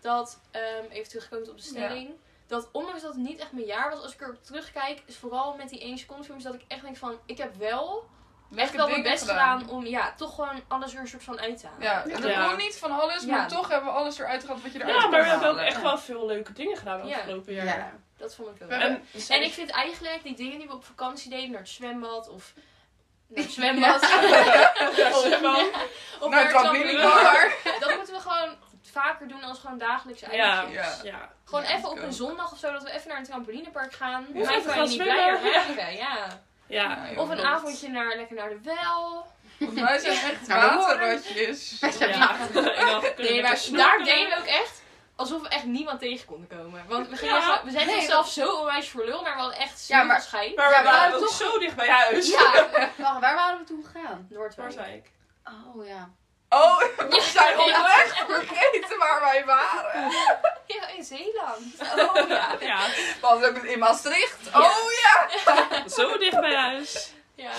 dat, ehm, even terugkomend op de stelling, dat ondanks dat het niet echt mijn jaar was, als ik erop terugkijk, is vooral met die 1 seconde films dat ik echt denk van, ik heb wel echt Lekker wel mijn dingen best gedaan. gedaan. om ja, toch gewoon alles weer een soort van uit te halen. Ja, en dat Ja. kon niet van alles, maar Ja. toch hebben we alles eruit gehad wat je eruit Ja, maar we kon hebben ook halen. echt wel veel leuke dingen gedaan de Ja. afgelopen Ja. jaar. Dat vond ik wel. Ja. leuk. En, En ik vind eigenlijk die dingen die we op vakantie deden, naar het zwembad of naar het zwembad. of Nou, naar het trampoline. trampoline. Dat moeten we gewoon vaker doen als gewoon dagelijkse Ja, uitjes. Ja. ja. Gewoon Ja, even op ik een ook. zondag of zo, dat we even naar een trampolinepark gaan. Ja, Mijn even gaan familie zwemmen. blijer maken, ja. Ja. joh, Of een dat- avondje naar, lekker naar de wel. Volgens mij zijn we echt Nou, dat hoor ik. waterratjes. Ja. En dan kunnen we Nee, lekker maar daar snorkelen. deden we ook echt alsof we echt niemand tegen konden komen. Want we, gingen Ja. gewoon- we zijn Nee, onszelf zo onwijs voor lul, maar we hadden echt Ja, ja, maar- maar, schijn. Maar we Ja, maar waren we ook toch- zo dicht bij huis. Ja, Wacht, waar waren we toen gegaan? Noordwijk. Noordwijk. Oh, ja. Oh, we Ja. zijn oprecht vergeten waar wij waren. Ja, in Zeeland. Oh, ja. Ja, We hadden ook in Maastricht. Oh ja, zo dicht bij huis. Ja,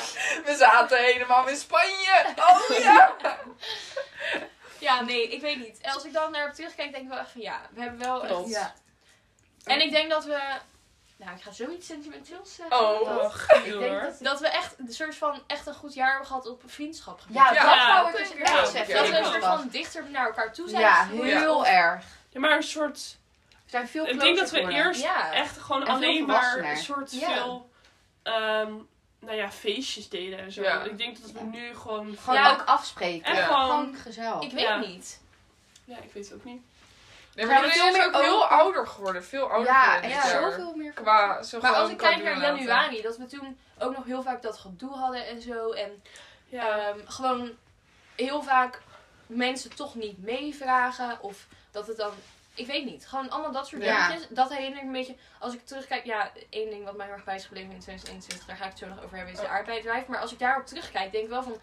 we zaten helemaal in Spanje. Oh ja. ja nee, ik weet niet. Als ik dan naar terugkijk, denk ik wel echt van ja, we hebben wel echt... Klopt. Ja. En ik denk dat we... Nou, ik ga zoiets sentimenteels zeggen. Oh. Och, Ik joh, denk hoor. dat... Dat we echt een soort van echt een goed jaar hebben gehad op vriendschap. gebied. Ja, Ja. dat wou ik dus Ja. echt zeggen. Ja. dat we een ook soort was. van dichter naar elkaar toe zijn. Ja, gegroeid. heel erg. Ja, maar een soort... We zijn veel Ik closer denk dat we geworden. eerst Ja. echt gewoon En veel alleen maar volwassener. een soort Ja. veel... ehm, nou ja, feestjes deden en zo. Ja. Ik denk dat we nu gewoon... Gewoon Ja. ook afspreken. Echt Ja. gewoon... Gewoon gezellig. Ik weet Ja. niet. Ja, ik weet het ook niet. Nee, Ja, maar jullie veel zijn meer ook heel ouder geworden. Veel ouder ja, geworden echt dit ja. jaar. zoveel meer. Qua zo Maar gewoon als ik kijk naar cadeaulaten. januari, dat we toen ook nog heel vaak dat gedoe hadden en zo. En Ja. ehm, gewoon heel vaak mensen toch niet meevragen. Of dat het dan Ik weet niet. Gewoon allemaal dat soort Ja. dingetjes. Dat herinner ik me een beetje. Als ik terugkijk. Ja, één ding wat mij heel erg bij is gebleven in 2021. Daar ga ik het zo nog over hebben. Is de Oh. aardbeidswijf. Maar als ik daarop terugkijk. Denk ik wel van.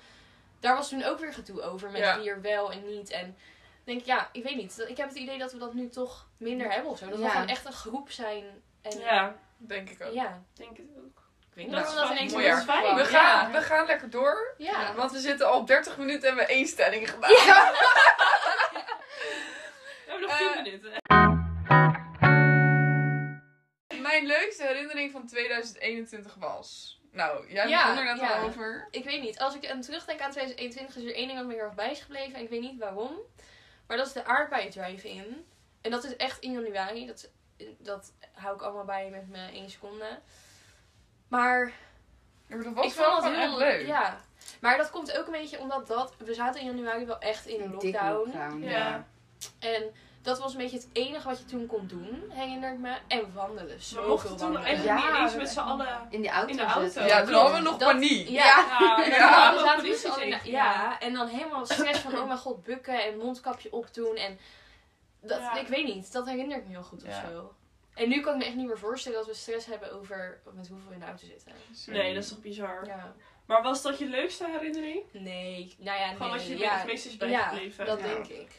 Daar was toen ook weer gedoe over. Met Ja. wie er wel en niet. En denk ik, ja, ik weet niet. Ik heb het idee dat we dat nu toch minder hebben of zo. Dat Ja. we gewoon echt een groep zijn. En, Ja, Denk ik ook. Ja. ik denk het ook. Ik weet niet Dat waarom is dat fijn. ineens Mooi, ja. zo fijn We is. gaan, Ja. we gaan lekker door. Ja. Want we zitten al 30 minuten en we één stelling gedaan. We hebben nog nog 10 Eh, tien minuten. Mijn leukste herinnering van 2021 was. Nou, jij Ja, begon er net ja. al over. Ik weet niet. Als ik aan terugdenk aan 2021 is er één ding wat me heel erg bij is gebleven. En ik weet niet waarom. Maar dat is de aardbeien drive-in. En dat is echt in januari. Dat, dat hou ik allemaal bij met mijn één seconde. Maar Ja, maar dat was ik wel vond dat gewoon heel echt leuk. Ja. Maar dat komt ook een beetje omdat dat... We zaten in januari wel echt in een lockdown. Ja. En dat was een beetje het enige wat je toen kon doen, herinner ik me. En wandelen. We Zoveel mochten toen wandelen. eigenlijk Ja, niet eens we- met z'n allen. In de auto. In de auto. zitten. Ja, toen hadden we nog Dat- paniek. Ja. Ja, nou, we Ja. we waren zaten allemaal dus al in de- politici. ja, en dan helemaal stress van, oh mijn god, bukken en mondkapje opdoen. En dat, Ja. ik weet niet, dat herinner ik me heel goed of Ja. zo. En nu kan ik me echt niet meer voorstellen dat we stress hebben over met hoeveel we in de auto zitten. Nee, dat is toch bizar. Ja. Maar was dat je leukste herinnering? Nee, nou ja, nee. Gewoon wat je ja. het meest is Ja, bijgebleven. dat Ja. denk ik.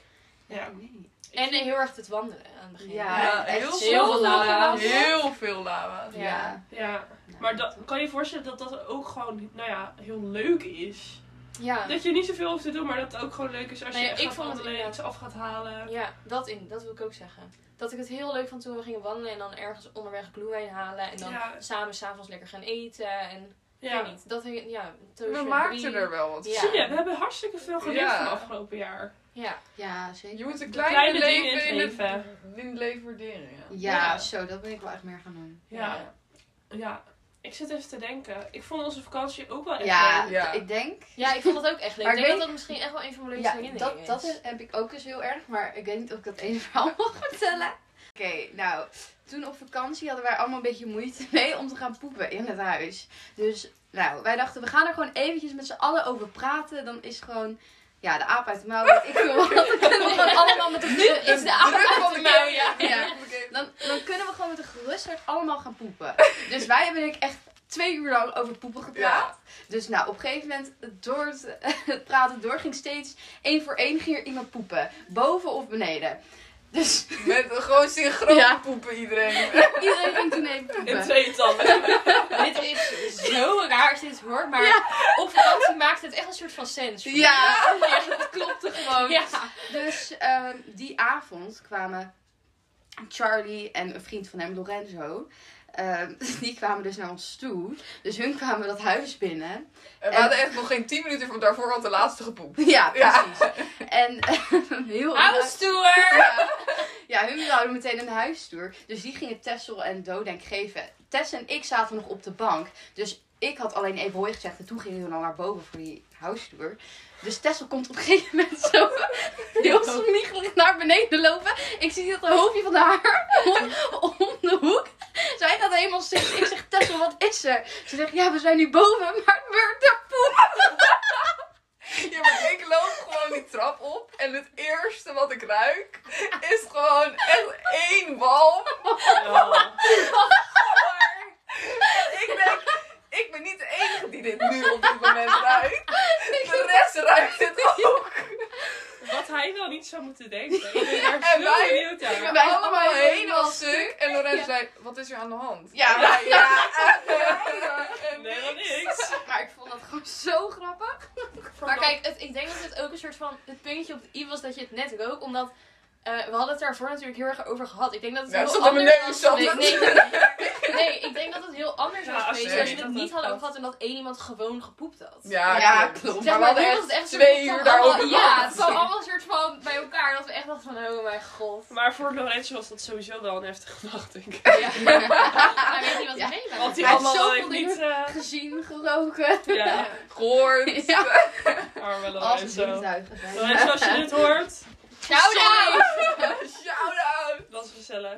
Ja. Nee. En heel erg het wandelen aan het begin. Ja, Ja, echt heel Heel veel veel lava. lava. Heel veel lava. Ja. Ja. Ja, maar dat, kan je je voorstellen dat dat ook gewoon, nou ja, heel leuk is? Ja, Dat je niet zoveel hoeft te doen, maar dat het ook gewoon leuk is als je Nee, echt ik gaat vond het wandelen, inderdaad- iets af gaat halen. ja dat, in, dat wil ik ook zeggen. Dat ik het heel leuk vond toen we gingen wandelen en dan ergens onderweg glühwein halen. En dan Ja. samen s'avonds lekker gaan eten. En Ik weet Ja. niet. Dat, hing- ja, eh, We Toosje, maakten Brie. er wel wat Ja. Zie je, we hebben hartstikke veel geleerd Ja. van afgelopen jaar. Ja, Ja, zeker. Je moet de De kleine, kleine dingen leven in het in het, leven. in het leven waarderen. Ja. Ja, zo, dat ben ik wel echt meer gaan doen. Ja. Ja, ik zit even te denken. Ik vond onze vakantie ook wel echt Ja, leuk. Ja. ik denk. ja ik vond dat ook echt leuk. Maar ik ik denk dat weet- dat misschien echt wel een van mijn leukste Ja, herinneringen dat, is. dat is- heb ik ook eens heel erg, maar ik weet niet of ik dat ene verhaal mag vertellen. Oké, nou, toen op vakantie hadden wij allemaal een beetje moeite mee om te gaan poepen in het huis. Dus, nou, wij dachten, we gaan er gewoon eventjes met z'n allen over praten. Dan is gewoon, ja, de aap uit de mouw, weet ik veel wat. Dan kunnen we gewoon allemaal met de Nu is druk de avond van uit de de mouw, ja. kinderen. Ja. Dan, dan kunnen we gewoon met een gerust hart allemaal gaan poepen. Dus wij hebben denk ik echt twee uur lang over poepen gepraat. Dus nou, op een gegeven moment, door het, het praten door, ging steeds één voor één ging er iemand poepen. Boven of beneden. Dus Met gewoon synchroon Ja. poepen iedereen. iedereen ging toen even In poepen. tweetallen. Dit is zo raar als je dit hoort, maar op vakantie maakt het echt een soort van sens. voor me. Ja, ja, dat klopte gewoon. Ja. dus ehm, die avond kwamen Charlie en een vriend van hem, Lorenzo... ehm, die kwamen dus naar ons toe. Dus hun kwamen dat huis binnen. En we En- hadden echt nog geen 10 minuten, want daarvoor had de laatste gepoept. Ja, Ja. precies. En heel House-tour! ja. ja, hun wilden meteen een huistoer. Dus die gingen Tessel en Dodenk geven. Tess en ik zaten nog op de bank. Dus ik had alleen even hooi gezegd. En toen gingen we dan naar boven voor die huistoer. Dus Tessel komt op een gegeven moment zo heel smiegelig naar beneden lopen. Ik zie dat hoofdje van haar om, om de hoek. Zij gaat helemaal zitten. Ik zeg, Tessel, wat is er? Ze zegt, ja, we zijn nu boven, maar we er Ja, maar ik loop gewoon die trap op en het eerste wat ik ruik is gewoon echt één walm. Ja. Ik denk, ik ben niet de enige die dit nu op dit moment ruikt. De rest ruikt het ook. Wat hij wel niet zou moeten denken. Ik ben daar En zo wij- benieuwd naar. We Ja. waren allemaal helemaal stuk. En Lorenz zei, wat is er aan de hand? Ja, ja. maar- ja. Nee, wel niks. Maar ik vond dat gewoon zo grappig. Maar kijk, het, ik denk dat het ook een soort van het puntje op de i was dat je het net rook, omdat eh, we hadden het daarvoor natuurlijk heel erg over gehad. Ik denk dat het Ja, het heel zat aan mijn anders neus, was. zat Nee, het. nee, nee. Nee, ik denk dat het heel anders Ja, was als geweest je als je weet het dat dat niet hadden over kan. gehad en dat één iemand gewoon gepoept had. Ja, Ja, klopt. klopt. Zeg we maar, nu hadden was het echt een twee soort van uur daarover allemaal- Ja, het gehad. kwam allemaal een soort van bij elkaar dat we echt dachten van, oh mijn god. Maar voor Lorenzo was dat sowieso wel een heftige nacht, denk ik. Ja. Hij weet niet wat Ja. hij meemaakt. Want die Hij heeft allemaal wel zoveel heeft niet... eh Gezien, geroken. ja, Gehoord. Ja, arme als Lorenzo. zintuigen zijn. Lorenzo, als je dit hoort, Shout out! Shout-out. dat is gezellig.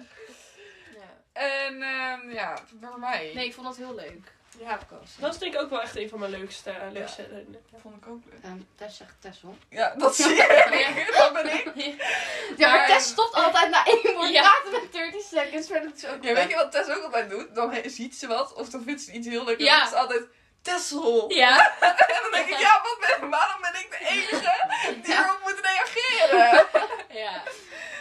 Ja. En ehm, ja, voor mij. Nee, ik vond dat heel leuk. Ja, koos. Dat is denk ik ook wel echt een van mijn leukste, eh, leukste herinneringen. Dat vond ik ook leuk. Ehm, Tess zegt Tessel. Ja, dat zie je. Dat ben ik. Ja, maar Maar- Tess stopt altijd na één woord Ja. praten met 30 seconds, maar dat is ook Ja, weet je wat Tess ook altijd doet? Dan he- ziet ze wat of dan vindt ze iets heel leuk. En Ja. dan is ze altijd Tessel. Ja. En dan denk ik, ja, wat ben, waarom ben ik de enige die erop moet reageren? ja.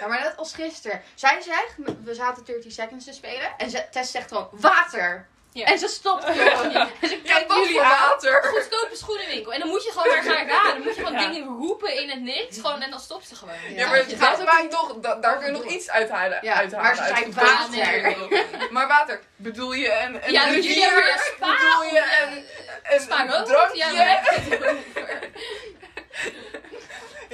Ja, maar net als gisteren. Zij zegt, we zaten 30 seconds te spelen. En ze- Tess zegt gewoon, water. Ja. En ze stopt gewoon niet. En ze Ja, kijkt wat jullie voor aan. water. Goedkope schoenenwinkel. En dan moet je gewoon weer gaan raden. Dan moet je gewoon Ja. dingen roepen in het niks. Gewoon, en dan stopt ze gewoon. Ja, maar Ja, je het gaat gaat vaak toch, da- daar kun je nog iets uithalen. Ja, uithalen maar ze uit zei het water. concept. Maar water, bedoel je een, een Ja, rivier? dus jullie hebben een spa. bedoel je of- een, een spa rood? drankje? Ja, Ja, daar heb je het over.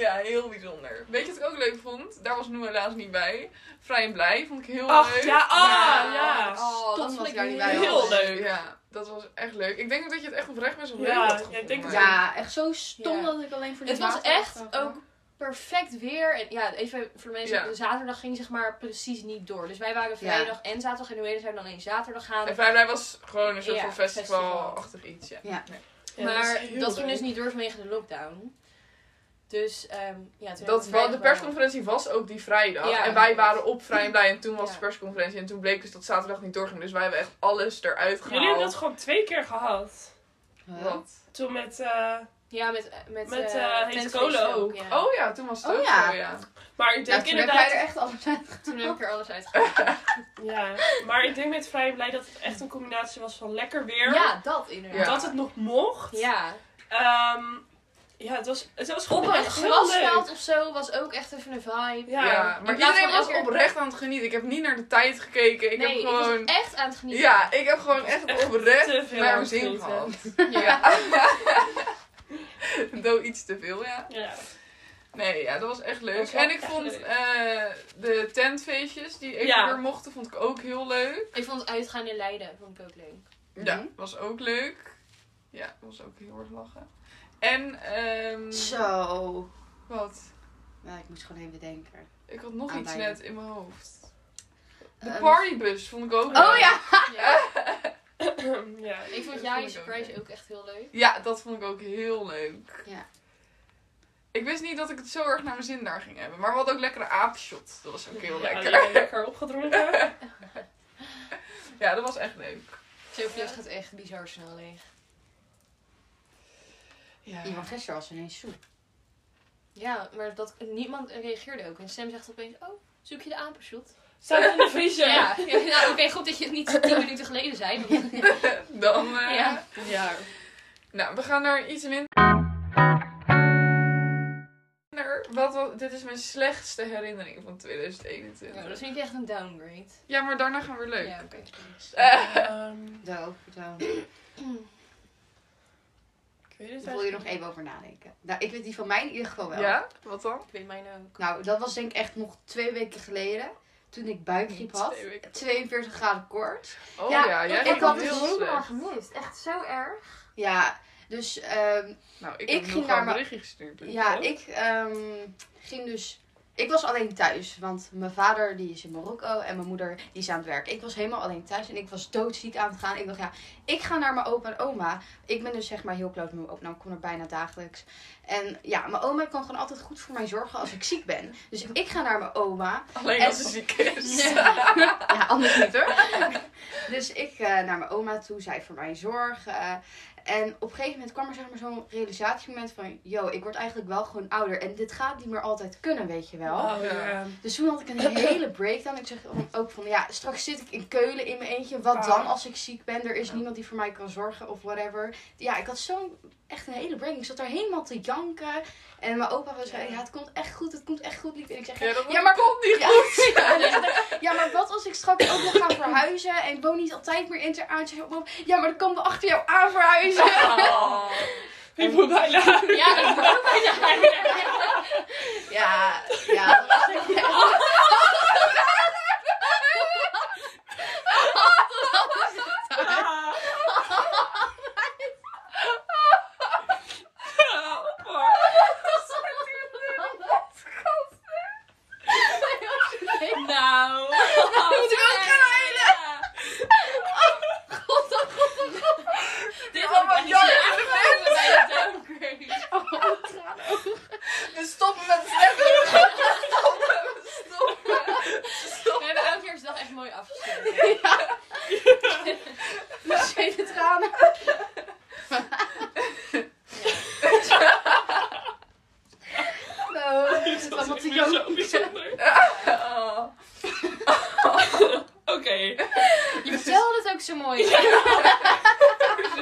heel bijzonder. Weet je wat ik ook leuk vond? Daar was Noe helaas niet bij. Vrij en blij vond ik heel Ach, leuk. ja, ah, Ja. ja. Oh, Stopt dat was met ik daar niet bij. jullie. Heel was. leuk. Ja, dat was echt leuk. Ik denk ook dat je het echt oprecht best wel Ja, leuk had ja, ik gevonden, denk het maar- Ja, echt zo stom Ja. dat ik alleen voor die Het was water echt had ook gegaan. perfect weer. En ja, even voor de mensen, Ja. de zaterdag ging zeg maar precies niet door. Dus wij waren vrijdag en zaterdag. En nu hele zijn dan één zaterdag gaan. En Vrijblij was gewoon een soort Ja, van festivalachtig iets, ja. Ja. Ja, maar is heel dat, ging leuk. dus niet door vanwege de lockdown. Dus ehm ja, toen Dat, wel want de persconferentie was ook die vrijdag. Ja. en wij waren op Vrij en Blij en toen was Ja. de persconferentie. En toen bleek dus dat zaterdag niet doorging. Dus wij hebben echt alles eruit gehaald. Jullie hebben dat gewoon twee keer gehad. Huh? Wat? Toen met... eh, Ja, met, eh, met, Met, eh, eh, Hete Tentfeest Kolen ook. ja. Oh ja, toen was het Oh ook ja. zo, ja. maar ik Ja, denk toen heb jij inderdaad... er echt alles uit. Toen heb ik er alles uitgehaald. Ja, maar ik denk met Vrij Blij dat het echt een combinatie was van lekker weer. ja, dat inderdaad. Dat het nog mocht. Ja. Ehm, ja, het was, het was Op gewoon een echt heel leuk. grasveld of zo was ook echt even een vibe. Ja. Ja, In Maar plaats iedereen van was elke- oprecht aan het genieten. Ik heb niet naar de tijd gekeken. Ik nee, heb gewoon... ik was echt aan het genieten. Ja, ik heb gewoon Ik was echt, echt te oprecht veel aan naar mijn het zin genieten. gehad. Ja. Ja. Doe iets te veel, ja. Ja. Nee, ja, dat was echt leuk. Dat was wel en ik echt vond leuk. eh, de tentfeestjes die even Ja. weer mochten, vond ik ook heel leuk. Ik vond het uitgaan in Leiden vond ik ook leuk. Ja, Mhm. was ook leuk. Ja, was ook heel erg lachen. En, ehm... Zo. Wat? Ja, ik moest gewoon even denken. Ik had nog iets Aanleiding. net in mijn hoofd. De Ah, Ehm, partybus vond ik ook Oh ja! Ja. ja. Ik Dat vond jij vond ik ook surprise leuk. ook echt heel leuk. Ja, dat vond ik ook heel leuk. Ja. Ik wist niet dat ik het zo erg naar mijn zin daar ging hebben. Maar we hadden ook lekkere aapshot. Dat was ook heel Ja, lekker. alleen lekker opgedronken. Ja, dat was echt leuk. Zo'n vlucht gaat echt bizar snel leeg. Ja. Die van gisteren was ineens soep. Ja, maar dat, niemand reageerde ook. En Sam zegt opeens, oh, zoek je de apenshot? Staat in de vriezer. Ja, ja nou, oké, goed dat je het niet tien minuten geleden zei. want- Dan, eh, Ja. Ja. Nou, we gaan naar iets minder. Wat, was- dit is mijn slechtste herinnering van 2021. Nou, dat vind ik echt een downgrade. Ja, maar daarna gaan we weer leuk. Ja, oké. dus Eh, Ehm, Zo, zo. ik weet het Daar wil je nog eigenlijk even over nadenken. Nou, ik weet die van mij in ieder geval wel. ja, wat dan? Ik weet mijn ook. Nou, dat was denk ik echt nog twee weken geleden. Toen ik buikgriep had. Twee weken. 42 graden koort. Oh Ja, ja, jij ging heel slecht. gemist. Echt zo erg. Ja, dus ehm, Nou, ik, Ik heb ging naar nog wel een mijn- berichtje gestuurd. ja, ook? ik ehm, ging dus... Ik was alleen thuis, want mijn vader die is in Marokko en mijn moeder die is aan het werk. Ik was helemaal alleen thuis en ik was doodziek aan het gaan. Ik dacht, ja, ik ga naar mijn opa en oma. Ik ben dus zeg maar heel close met mijn opa. Nou, ik kom er bijna dagelijks. En ja, mijn oma kan gewoon altijd goed voor mij zorgen als ik ziek ben. Dus ik ga naar mijn oma. Alleen En- als ze ziek is. Ja, anders niet hoor. dus ik eh, naar mijn oma toe, zij voor mij zorgen. eh, en op een gegeven moment kwam er zeg maar zo'n realisatiemoment van... Yo, ik word eigenlijk wel gewoon ouder. En dit gaat niet meer altijd kunnen, weet je wel. Oh, ja. Dus toen had ik een hele breakdown. Ik zeg van- ook van, ja, straks zit ik in Keulen in mijn eentje. Wat Ah. dan als ik ziek ben? Er is niemand die voor mij kan zorgen of whatever. Ja, ik had zo'n, echt een hele breakdown. Ik zat daar helemaal te janken. En mijn opa was zei, ja, het komt echt goed, het komt echt goed. lief." En ik zeg, Ja, dat Ja, maar- komt niet ja. goed. Ja, dus- ja, maar wat als ik straks ook nog ga verhuizen en ik woon niet altijd meer in Ter Aartje? Ja, maar dan komen we achter jou aan verhuizen. Ik moet bijna. Ja, dat wou bijna. Ja, ja. dat was echt- Ah. Nou. moet ik ook gaan Nou. Ja. God, oh, God, oh, God. Je vertelde het ook zo mooi. Zo,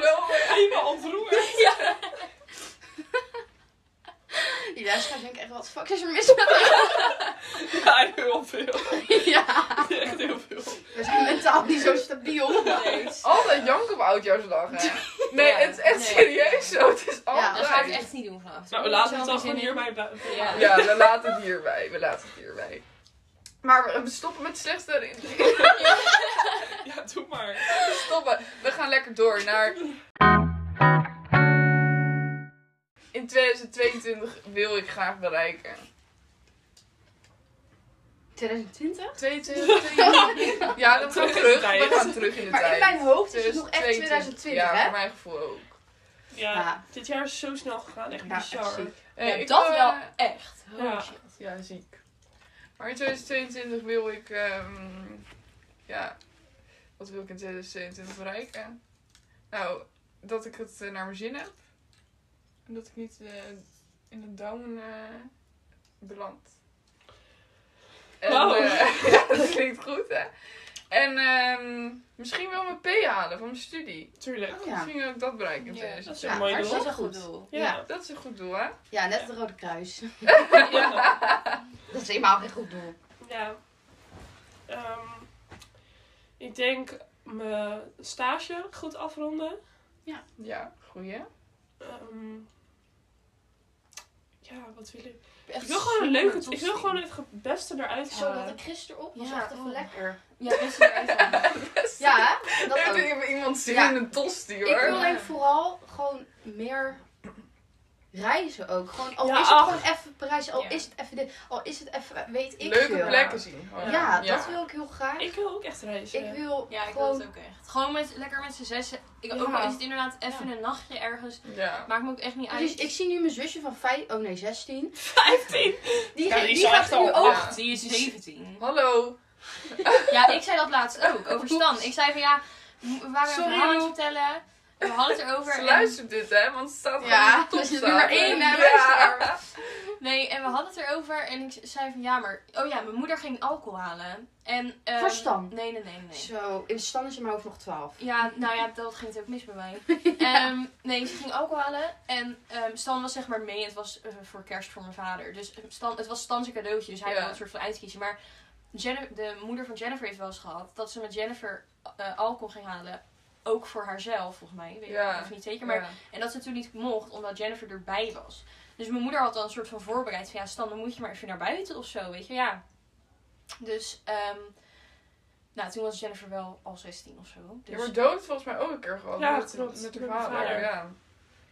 hè. Even ontroeren. Die luisteraars denken echt, wat fuck is er mis met ons? Ja, heel veel. Ja, Echt heel veel. we zijn mentaal niet zo stabiel. Altijd janken op oudjaarsdag, hè? Nee, Ja, het is echt nee. serieus zo. Het is Ja, Dat ga altijd. ik echt niet doen vanavond. Nou, Ik laten we heb het er dan gewoon zoveel zin in. hierbij bij. Ja. Ja, we laten het hierbij. We laten het hierbij. Maar we stoppen met slechte... Ja, doe maar. Stoppen. We gaan lekker door naar... In 2022 wil ik graag bereiken. 2020? 2022? Ja, dan gaan we terug. We gaan terug in de tijd. Maar in mijn hoofd is het Dus nog echt 2020, Ja, hè? voor mijn gevoel ook. Ja, Ja. dit jaar is zo snel gegaan. Echt Ja, echt bizar. ziek. Eh, Ja, ik dat wil, wel eh, echt. Holy ja. shit. Ja, ziek. Maar in 2022 wil ik... ehm, ja, wat wil ik in 2022 bereiken? Nou, dat ik het eh, naar mijn zin heb. En dat ik niet eh, in de down eh, beland. En, Wauw. eh, ja, dat klinkt goed, hè? En ehm, misschien wel mijn P halen van mijn studie. Tuurlijk. Oh ja. Misschien wil ik dat bereiken in Ja, 2022. Dat is een Ja, mooi hartstikke doel. Dat is een goed goed. doel. Ja. Dat is een goed doel, hè? Ja, net het Rode Kruis. Ja. Dat is helemaal geen goed doel. Ja. Ehm, ik denk mijn stage goed afronden. Ja, goeie. Ehm, ja, wat wil ik? Echt Ik wil gewoon een leuke... super Ik wil doelstelling. gewoon het ge- beste eruit Zo dat halen. ik gisteren op was, Ja. echt even lekker. Ja, best wel uitgaan. Oh. Ja, hè? dat Heeft ook. er iemand zin Ja. in een tosti, hoor. Ik wil Ja. denk vooral gewoon meer reizen ook. Gewoon, al Ja, is het ach. gewoon even Parijs, al Ja. is het even dit, al is het even weet ik Leuke veel. plekken zien. Ja, gewoon. dat wil ik heel graag. Ik, Ik wil ook echt reizen. wil Ja, ik wil gewoon... het ook echt. Gewoon met, lekker met z'n zessen. Ik, Ook Ja. al is het inderdaad even een nachtje ergens. Ja. Maakt me ook echt niet uit. Precies, ik zie nu mijn zusje van 5, oh nee 16. 15! Die, Ja, die die is al echt gaat al- nu ook. ja. Die is 17. Hallo. Ja, ik zei dat laatst ook. Over Stan. Ik zei van ja, we waren Sorry, een verhaal aan het Roel. vertellen. We hadden het erover. Ze en- luistert dit, hè? Want ze staat gewoon Ja, in de top ze is nummer één, hè, Ja. Nee, en we hadden het erover. En ik zei van ja, maar... Oh ja, mijn moeder ging alcohol halen. En, ehm, Voor Stan? Nee, nee, nee, nee. Zo, in stand is in mijn hoofd nog 12. Ja, nou ja, dat ging het ook mis bij mij. Ehm, nee, ze ging alcohol halen. En ehm, Stan was zeg maar mee. Het was eh, voor kerst voor mijn vader. Dus eh, Stan, het was Stan's cadeautje. Dus hij Ja. kon het soort van uitkiezen. Maar Jenni- de moeder van Jennifer heeft wel eens gehad dat ze met Jennifer eh, alcohol ging halen. Ook voor haarzelf, volgens mij. Weet ik Ja. even niet zeker. Maar, En dat ze toen niet mocht, omdat Jennifer erbij was. Dus mijn moeder had dan een soort van voorbereid. Van ja, Stan, dan moet je maar even naar buiten of zo. Weet je, ja. Dus, ehm, nou, toen was Jennifer wel al 16 of zo. Je Dus, wordt dood volgens mij ook een keer gewoon. Ja, met, klopt. met haar Met mijn vader. vader. Ja.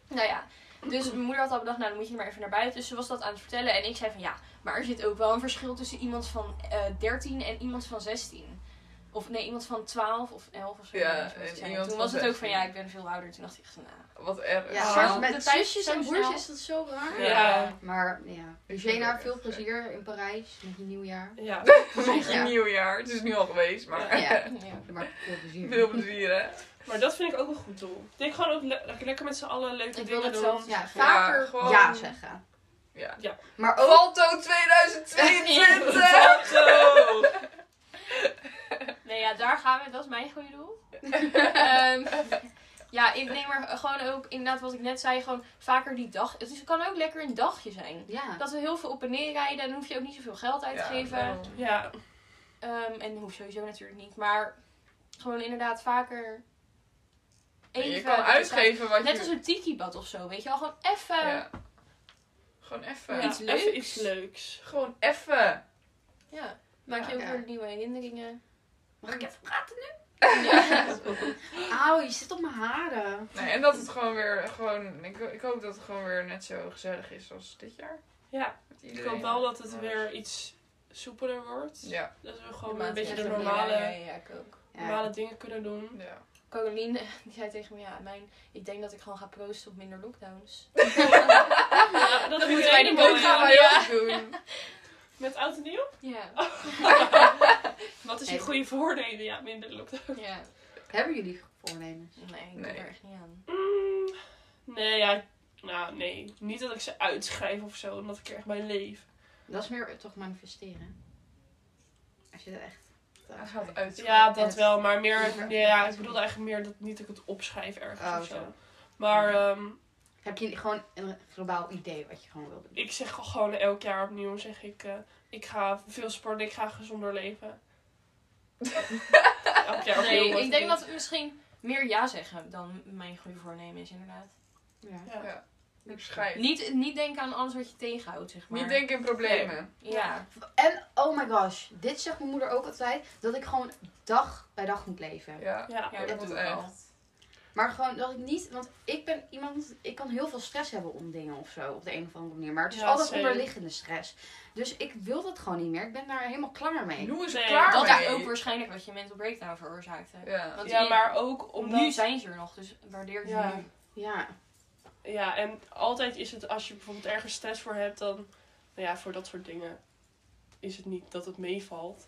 Nou ja, dus mijn moeder had al bedacht, nou dan moet je maar even naar buiten. Dus ze was dat aan het vertellen. En ik zei van ja, maar er zit ook wel een verschil tussen iemand van eh 13 en iemand van 16. Of nee, iemand van 12 of 11 of zo. Ja, Ik weet niet wat en ik zei. iemand toen van was het ook van 16. ja, ik ben veel ouder. Toen dacht ik echt van nou. Wat erg. Ja, Oh. maar De met tijd zusjes zo en broertjes snel. is dat zo raar. Ja. Maar ja, Ik vind het Eugena, ook veel echt plezier in Parijs met je nieuwjaar. Ja. Met je Ja. nieuwjaar. Het is nu al geweest, maar... Ja, Ja. maar veel plezier. Veel plezier, hè? Maar dat vind ik ook een goed doel. Ik denk gewoon ook le- le- lekker met z'n allen leuke Ik wil dingen het doen. zelf. Ja, vaker Ja, gewoon gewoon- ja zeggen. Ja. Maar ook Valto 2022! Zo! Nee, ja, daar gaan we. Dat is mijn goede doel. Ehm, ja, ik neem maar gewoon ook, inderdaad wat ik net zei, gewoon vaker die dag. Het is- kan ook lekker een dagje zijn. Ja. Dat we heel veel op en neer rijden, dan hoef je ook niet zoveel geld uit te geven. nou, Ja. Ehm, en hoeft sowieso natuurlijk niet, maar gewoon inderdaad vaker even... Je kan dat is uitgeven wat eigenlijk- je... Net als een eh, tiki-bad of zo, weet je wel. Gewoon even... Ja. Ja. Gewoon Ja, even. Iets even leuks. iets leuks. Gewoon even. Maak je Ja, ook ja. weer nieuwe herinneringen. Mag ik even praten? Ja. Auw, je zit op mijn haren. Nee, en dat het gewoon weer, gewoon, ik, ik hoop dat het gewoon weer net zo gezellig is als dit jaar. Ja. Met Ik iedereen. hoop wel dat het weer iets soepeler wordt. Ja, Dat we gewoon Maar weer een beetje het is de ook- normale, Ja, ja, ja, ik ook. normale dingen kunnen doen. ja. Caroline, eh, die zei tegen me, ja, mijn, ik denk dat ik gewoon ga proosten op minder lockdowns. Ja, dat moet wij wij niet mooi. doen. gaan Ja. wij ook doen. Met oud en nieuw? Ja, Wat is je Even. goede voordelen? Ja, minder lockdown. ja. Hebben jullie voornemens? Nee, ik doe Nee. er echt niet aan. Mm, nee, ja. Nou, nee. Niet dat ik ze uitschrijf of zo, omdat ik er echt bij leef. Dat is meer toch manifesteren. Als je dat echt. uitvergroten. Hij gaat uit. Ja, dat wel. Maar Ja. meer, ja, ik bedoelde eigenlijk meer dat niet dat ik het opschrijf ergens Oh, of zo. zo. Maar ehm, Heb je gewoon een globaal idee wat je gewoon wil doen? ik zeg gewoon elk jaar opnieuw, zeg ik, eh, ik ga veel sporten, ik ga gezonder leven. elk jaar opnieuw. Nee, wordt ik denk het dat we misschien meer ja zeggen dan mijn goede voornemen is, inderdaad. Ja. niet. Ja. Ja. Ik schrijf. Niet, niet denken aan alles wat je tegenhoudt, zeg maar. Niet denken in problemen. Ja. En oh my gosh, dit zegt mijn moeder ook altijd: dat ik gewoon dag bij dag moet leven. Ja. Ja. Ja, dat dat is doe ik wel. echt. Maar gewoon dat ik niet, want ik ben iemand, ik kan heel veel stress hebben om dingen of zo, op de een of andere manier. Maar het is Ja, altijd same. onderliggende stress. Dus ik wil dat gewoon niet meer. Ik ben daar helemaal klaar mee. Noe is Nee, klaar Dat mee. is ook waarschijnlijk wat je mental breakdown veroorzaakte. Ja. Want Ja, die- maar ook omdat... Nu zijn ze er nog, dus waardeer je Ja. nu. Ja, Ja, en altijd is het als je bijvoorbeeld ergens stress voor hebt, dan, nou ja, voor dat soort dingen is het niet dat het meevalt.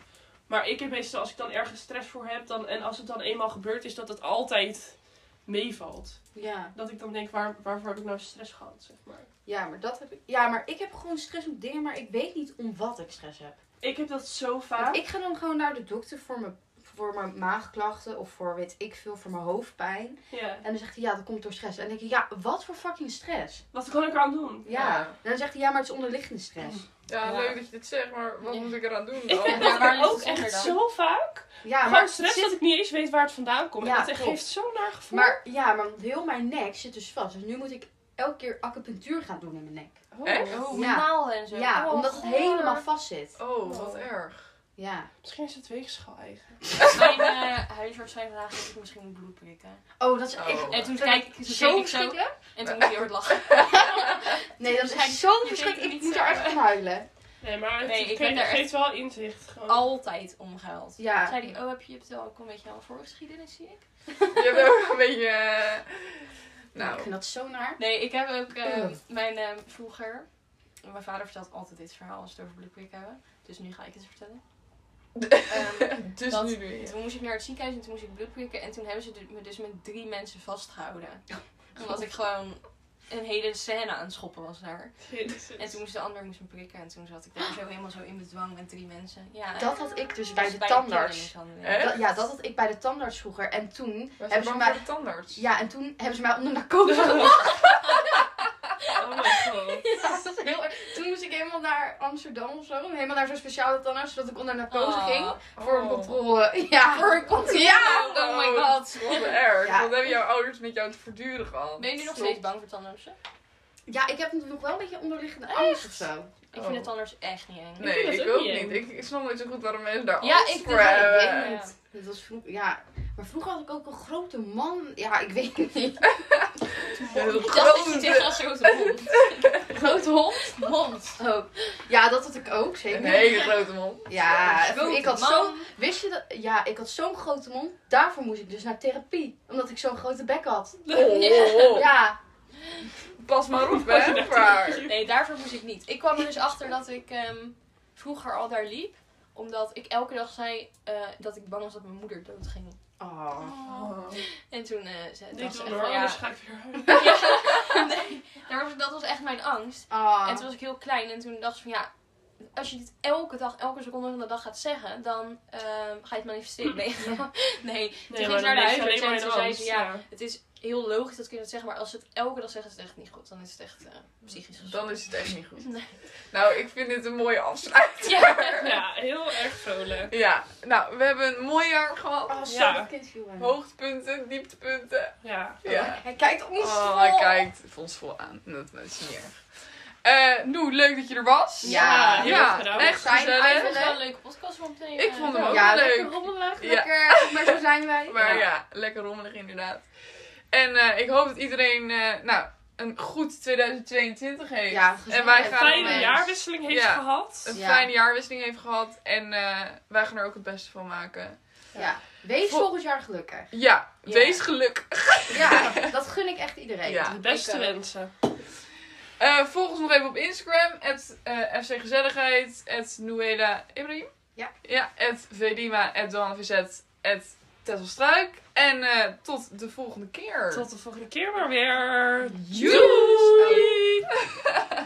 Maar ik heb meestal, als ik dan ergens stress voor heb, dan, en als het dan eenmaal gebeurd is, dat het altijd meevalt. ja, Dat ik dan denk, waar, waarvoor heb ik nou stress gehad, zeg maar. ja, maar dat heb ik. Ja, maar ik heb gewoon stress om dingen, maar ik weet niet om wat ik stress heb. Ik heb dat zo Want vaak. ik ga dan gewoon naar de dokter voor mijn, voor mijn maagklachten of voor weet ik veel, voor mijn hoofdpijn. Ja. En dan zegt hij ja, dat komt door stress. En dan denk ik, ja, wat voor fucking stress? Wat kan ik eraan doen? Ja. Ja. En dan zegt hij ja, maar het is onderliggende stress. Mm. Ja, Ja. leuk dat je dit zegt, maar wat Oh, Ja. moet ik eraan doen Oh, Ik heb dan? maar dat waar ligt ook het onder echt dan? zo vaak. Ja, Gewoon maar stress het dat zit- ik niet eens weet waar het vandaan komt. Ja, en dat echt klopt. geeft zo'n naar gevoel. Maar ja, maar heel mijn nek zit dus vast. Dus nu moet ik elke keer acupunctuur gaan doen in mijn nek. Oh. Echt? Oh, Ja. naalden en zo. ja, Oh, omdat het goor. helemaal vast zit. Oh, wat erg. Ja. Misschien is het weegschaal eigen. Mijn eh, huisarts zei vandaag dat ik misschien moet bloed prikken. Oh, dat is Oh. echt En toen Zo- kijk ik, toen keek zo ik zo schrikken. en toen moet je hard lachen. Nee, dat Waarschijnlijk- is zo je denkt verschrikkelijk. niet Ik moet zo. er echt van huilen. Nee, maar het, Nee, het ik ben ge- daar geeft echt- wel inzicht. Gewoon. Altijd omgehuild. Ja. Zei die, oh heb je, je hebt wel ook een beetje aan voorgeschiedenis, zie ik. Je hebt ook een beetje... eh, Ik Nou, vind dat zo naar. Nee, ik heb ook eh, Ugh. mijn eh, vroeger. Mijn vader vertelt altijd dit verhaal als we het over bloedprik hebben. Dus nu ga ik het vertellen. Ehm, dus dat- nu doe je. toen moest ik naar het ziekenhuis en toen moest ik bloed prikken. En toen hebben ze me dus met drie mensen vastgehouden. Omdat ik gewoon een hele scène aan het schoppen was daar. En toen moest de ander moest me prikken. En toen zat ik daar zo helemaal zo in bedwang met drie mensen. Ja, Dat had ik dus bij was de een tandarts. kindermishandeling. Hè? Dat, ja, dat had ik bij de tandarts vroeger. En toen, Was je Hebben ze bang maar- voor de tandarts? ja, en toen hebben ze mij onder narcose gebracht. Oh my god. Ja, dat is heel erg. Toen moest ik helemaal naar Amsterdam of zo. Helemaal naar zo'n speciale tandarts, zodat ik onder narcose Ah, ging. Oh. Voor een controle. Ja. Voor een controle. Ja. Oh my god. Wat erg. Ja. Wat hebben jouw ouders met jou te verduren gehad? Ben je nu nog Klopt. steeds bang voor tandartsen? Ja, ik heb nog wel een beetje onderliggende angst of zo. Ik Oh. vind de tandarts echt niet eng. Nee, dat ik, ook ook niet niet. Ik, ik snap nooit zo goed waarom mensen daar Ja, angst ik- voor ja, Ja, hebben. ik weet Ja. niet. Dat was vroeger, ja. Maar vroeger had ik ook een grote man. Ja, ik weet het niet. Heel Ik dacht dat je grote- tegen een grote hond. grote hond? Hond. Oh. Ja, dat had ik ook, zeker. Een hele grote mond. Ja, ik had zo. zo'n... Wist je dat? Ja, ik had zo'n grote mond. Daarvoor moest ik dus naar therapie. Omdat ik zo'n grote bek had. Oh, Ja. Pas maar op, hè. Maar... Nee, daarvoor moest ik niet. Ik kwam er dus achter dat ik ehm, vroeger al daar liep. Omdat ik elke dag zei eh, dat ik bang was dat mijn moeder doodging. Oh. En toen eh Dit zei dat doen echt hoor, van, anders ja, ga ik weer huilen. ja, nee, daar was, dat was echt mijn angst. Oh. En toen was ik heel klein en toen dacht ik van ja, als je dit elke dag, elke seconde van de dag gaat zeggen, dan ehm, ga je het manifesteren. Nee, nee. toen ging ze naar de huisarts en toen zei ze ja, het is heel logisch dat kinderen het zeggen, maar als ze het elke dag zeggen, is het echt niet goed. Dan is het echt eh, psychisch gezond. Dan is het echt niet goed. Nee. Nou, ik vind dit een mooie afsluiting. Ja. Ja, heel erg vrolijk. Ja, nou, we hebben een mooi jaar gehad. Oh, zo, Ja. dat kind viel aan. Hoogtepunten, dieptepunten. Ja. Oh, Ja. Hij kijkt ons Oh, vol. hij kijkt ons vol aan. Dat dat is niet erg. Eh Noe, leuk dat je er was. Ja. Ah, heel Ja, erg bedankt. echt Zijn Ik gezellig. vond het wel een leuke podcast om te nemen. Ik vond hem ook Ja, leuk. lekker rommelig. Ja. Lekker. Maar zo zijn wij. Maar ja, lekker rommelig inderdaad. En eh, ik hoop dat iedereen eh, nou, een goed 2022 heeft. Ja, en wij gezellig gaan Fijne moment. jaarwisseling heeft Ja. gehad. een Ja. fijne jaarwisseling heeft gehad. En eh, wij gaan er ook het beste van maken. Ja. Wees Vol- volgend jaar gelukkig. Ja, Ja. wees gelukkig. Ja, dat gun ik echt iedereen. Ja. De beste Ik ook. wensen. Eh, volg ons nog even op Instagram. At, eh, FC Gezelligheid. At Nuela Ibrahim. Ja. Ja. At Vedima. At Doanne Verzet. At Tessel Struik. En eh, tot de volgende keer. Tot de volgende keer maar weer. Doei!